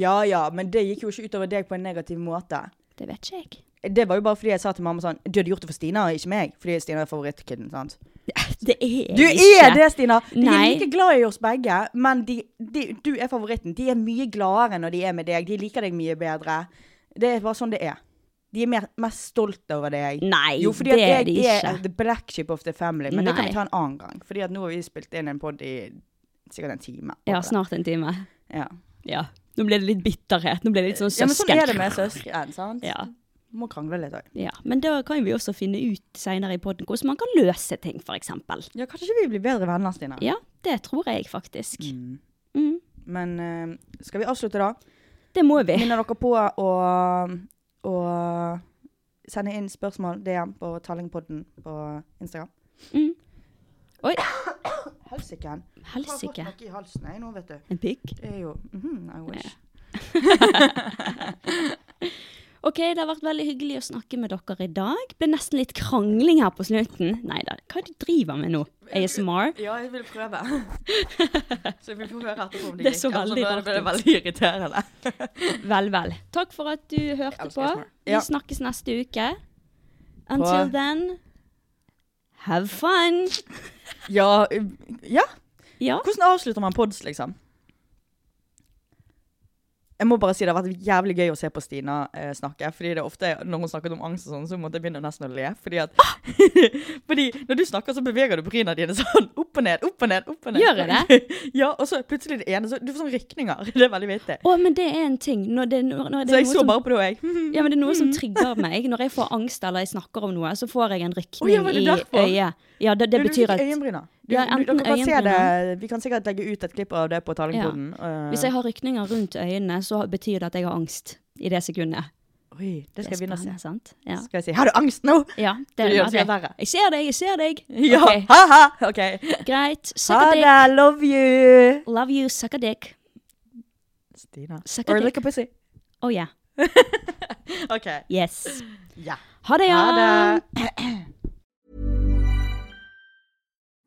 Ja ja, men det gikk jo ikke utover deg på en negativ måte.
Det vet ikke jeg.
Det var jo bare fordi jeg sa til mamma sånn Du hadde gjort det for Stina, ikke meg. Fordi Stina er favorittkidden, sant.
Det er jeg
Du
ikke.
er det, Stina! De er
Nei.
like glad i oss begge, men de, de, du er favoritten. De er mye gladere når de er med deg. De liker deg mye bedre. Det er bare sånn det er. De er mer, mest stolte over deg.
Nei,
jo, fordi
det
at
er de
jeg
ikke.
er the black ship of the family, men det kan vi
Nei.
ta en annen gang. Fordi at nå har vi spilt inn en pod i sikkert en time.
Ja, snart en time.
Ja.
Ja. Nå ble det litt bitterhet. Nå ble det litt sånn
Ja, men sånn er det
søsken.
med søsken, sant?
Ja.
Må krangle litt òg.
Ja, men da kan vi også finne ut senere i podden hvordan man kan løse ting, f.eks.
Ja, kanskje ikke vi blir bedre venner, Stine.
Ja, det tror jeg faktisk.
Mm.
Mm.
Men eh, skal vi avslutte, da?
Det må vi.
Minner dere på å, å sende inn spørsmål DM på Tallingpodden på Instagram.
Mm. Oi,
Helsike.
helsike.
noe i halsen jeg nå, vet du.
En pikk.
Det er jo mhm, I wish.
OK, det har vært veldig hyggelig å snakke med dere i dag. Ble nesten litt krangling her på slutten. Nei da, hva er det du driver med nå? ASMR?
Ja, jeg vil prøve. så vi får høre etterpå om
det Det så gikk. Altså, veldig da ble det rart
veldig irriterende.
Vel, vel. Takk for at du hørte
elsker
på.
ASMR.
Vi
Ja.
snakkes neste uke. Until
På-
then, have fun.
Ja, eh, ja.
Ja.
Hvordan avslutter man pods, liksom? Jeg må bare si Det har vært jævlig gøy å se på Stina eh, snakke. Fordi det er ofte Når hun snakket om angst, og sånn Så måtte jeg begynne nesten å le. Fordi at Fordi når du snakker, så beveger du bryna dine sånn opp og ned, opp og ned. opp og ned
Gjør jeg
ja, og så plutselig det ene så, Du får sånne rykninger. Det er veldig vittig.
Å, men det er en ting. Når det, når, når det
Så
er
jeg
noe
så
som-
bare på det, og jeg.
Ja, men det er noe som trigger meg. Når jeg får angst eller jeg snakker om noe, så får jeg en
Å, ja,
rykning
var det
i
derfor?
øyet. Ja, det, det
Du,
betyr
Du
at
fikk øyenbryna. Du,
Ja,
du,
enten
dere kan se det.
øyenbryna.
Vi kan sikkert legge ut et klipp av det på Tallingboden. Ja.
hvis jeg har rykninger rundt øynene, så betyr det at jeg har angst i det sekundet.
eh, Oi, det skal jeg begynne å se.
spennende, sant? Ja.
Skal jeg si 'Har du angst nå?'
ja det
Det gjør
er
det
det.
verre.
Jeg ser deg, jeg ser deg.
Ja,
Ok,
ha-ha! OK.
greit. Suck
Ha
a dick.
det, love you!
Love you, suck a dick.
Stina.
Suck a
Or
dick.
lick a pussy.
Oh yeah.
OK.
Yes.
Ja.
Ha det, ja.
Ha det.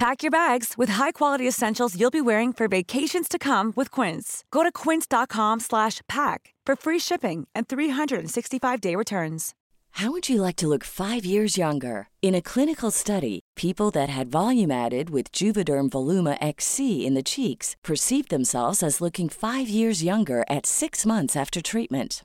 Pack your bags with high-quality essentials you'll be wearing for vacations to come with Quince. Go to quince.com/pack for free shipping and 365-day returns.
How would you like to look five years younger? In a clinical study, people that had volume added with Juvederm Voluma XC in the cheeks perceived themselves as looking five years younger at six months after treatment.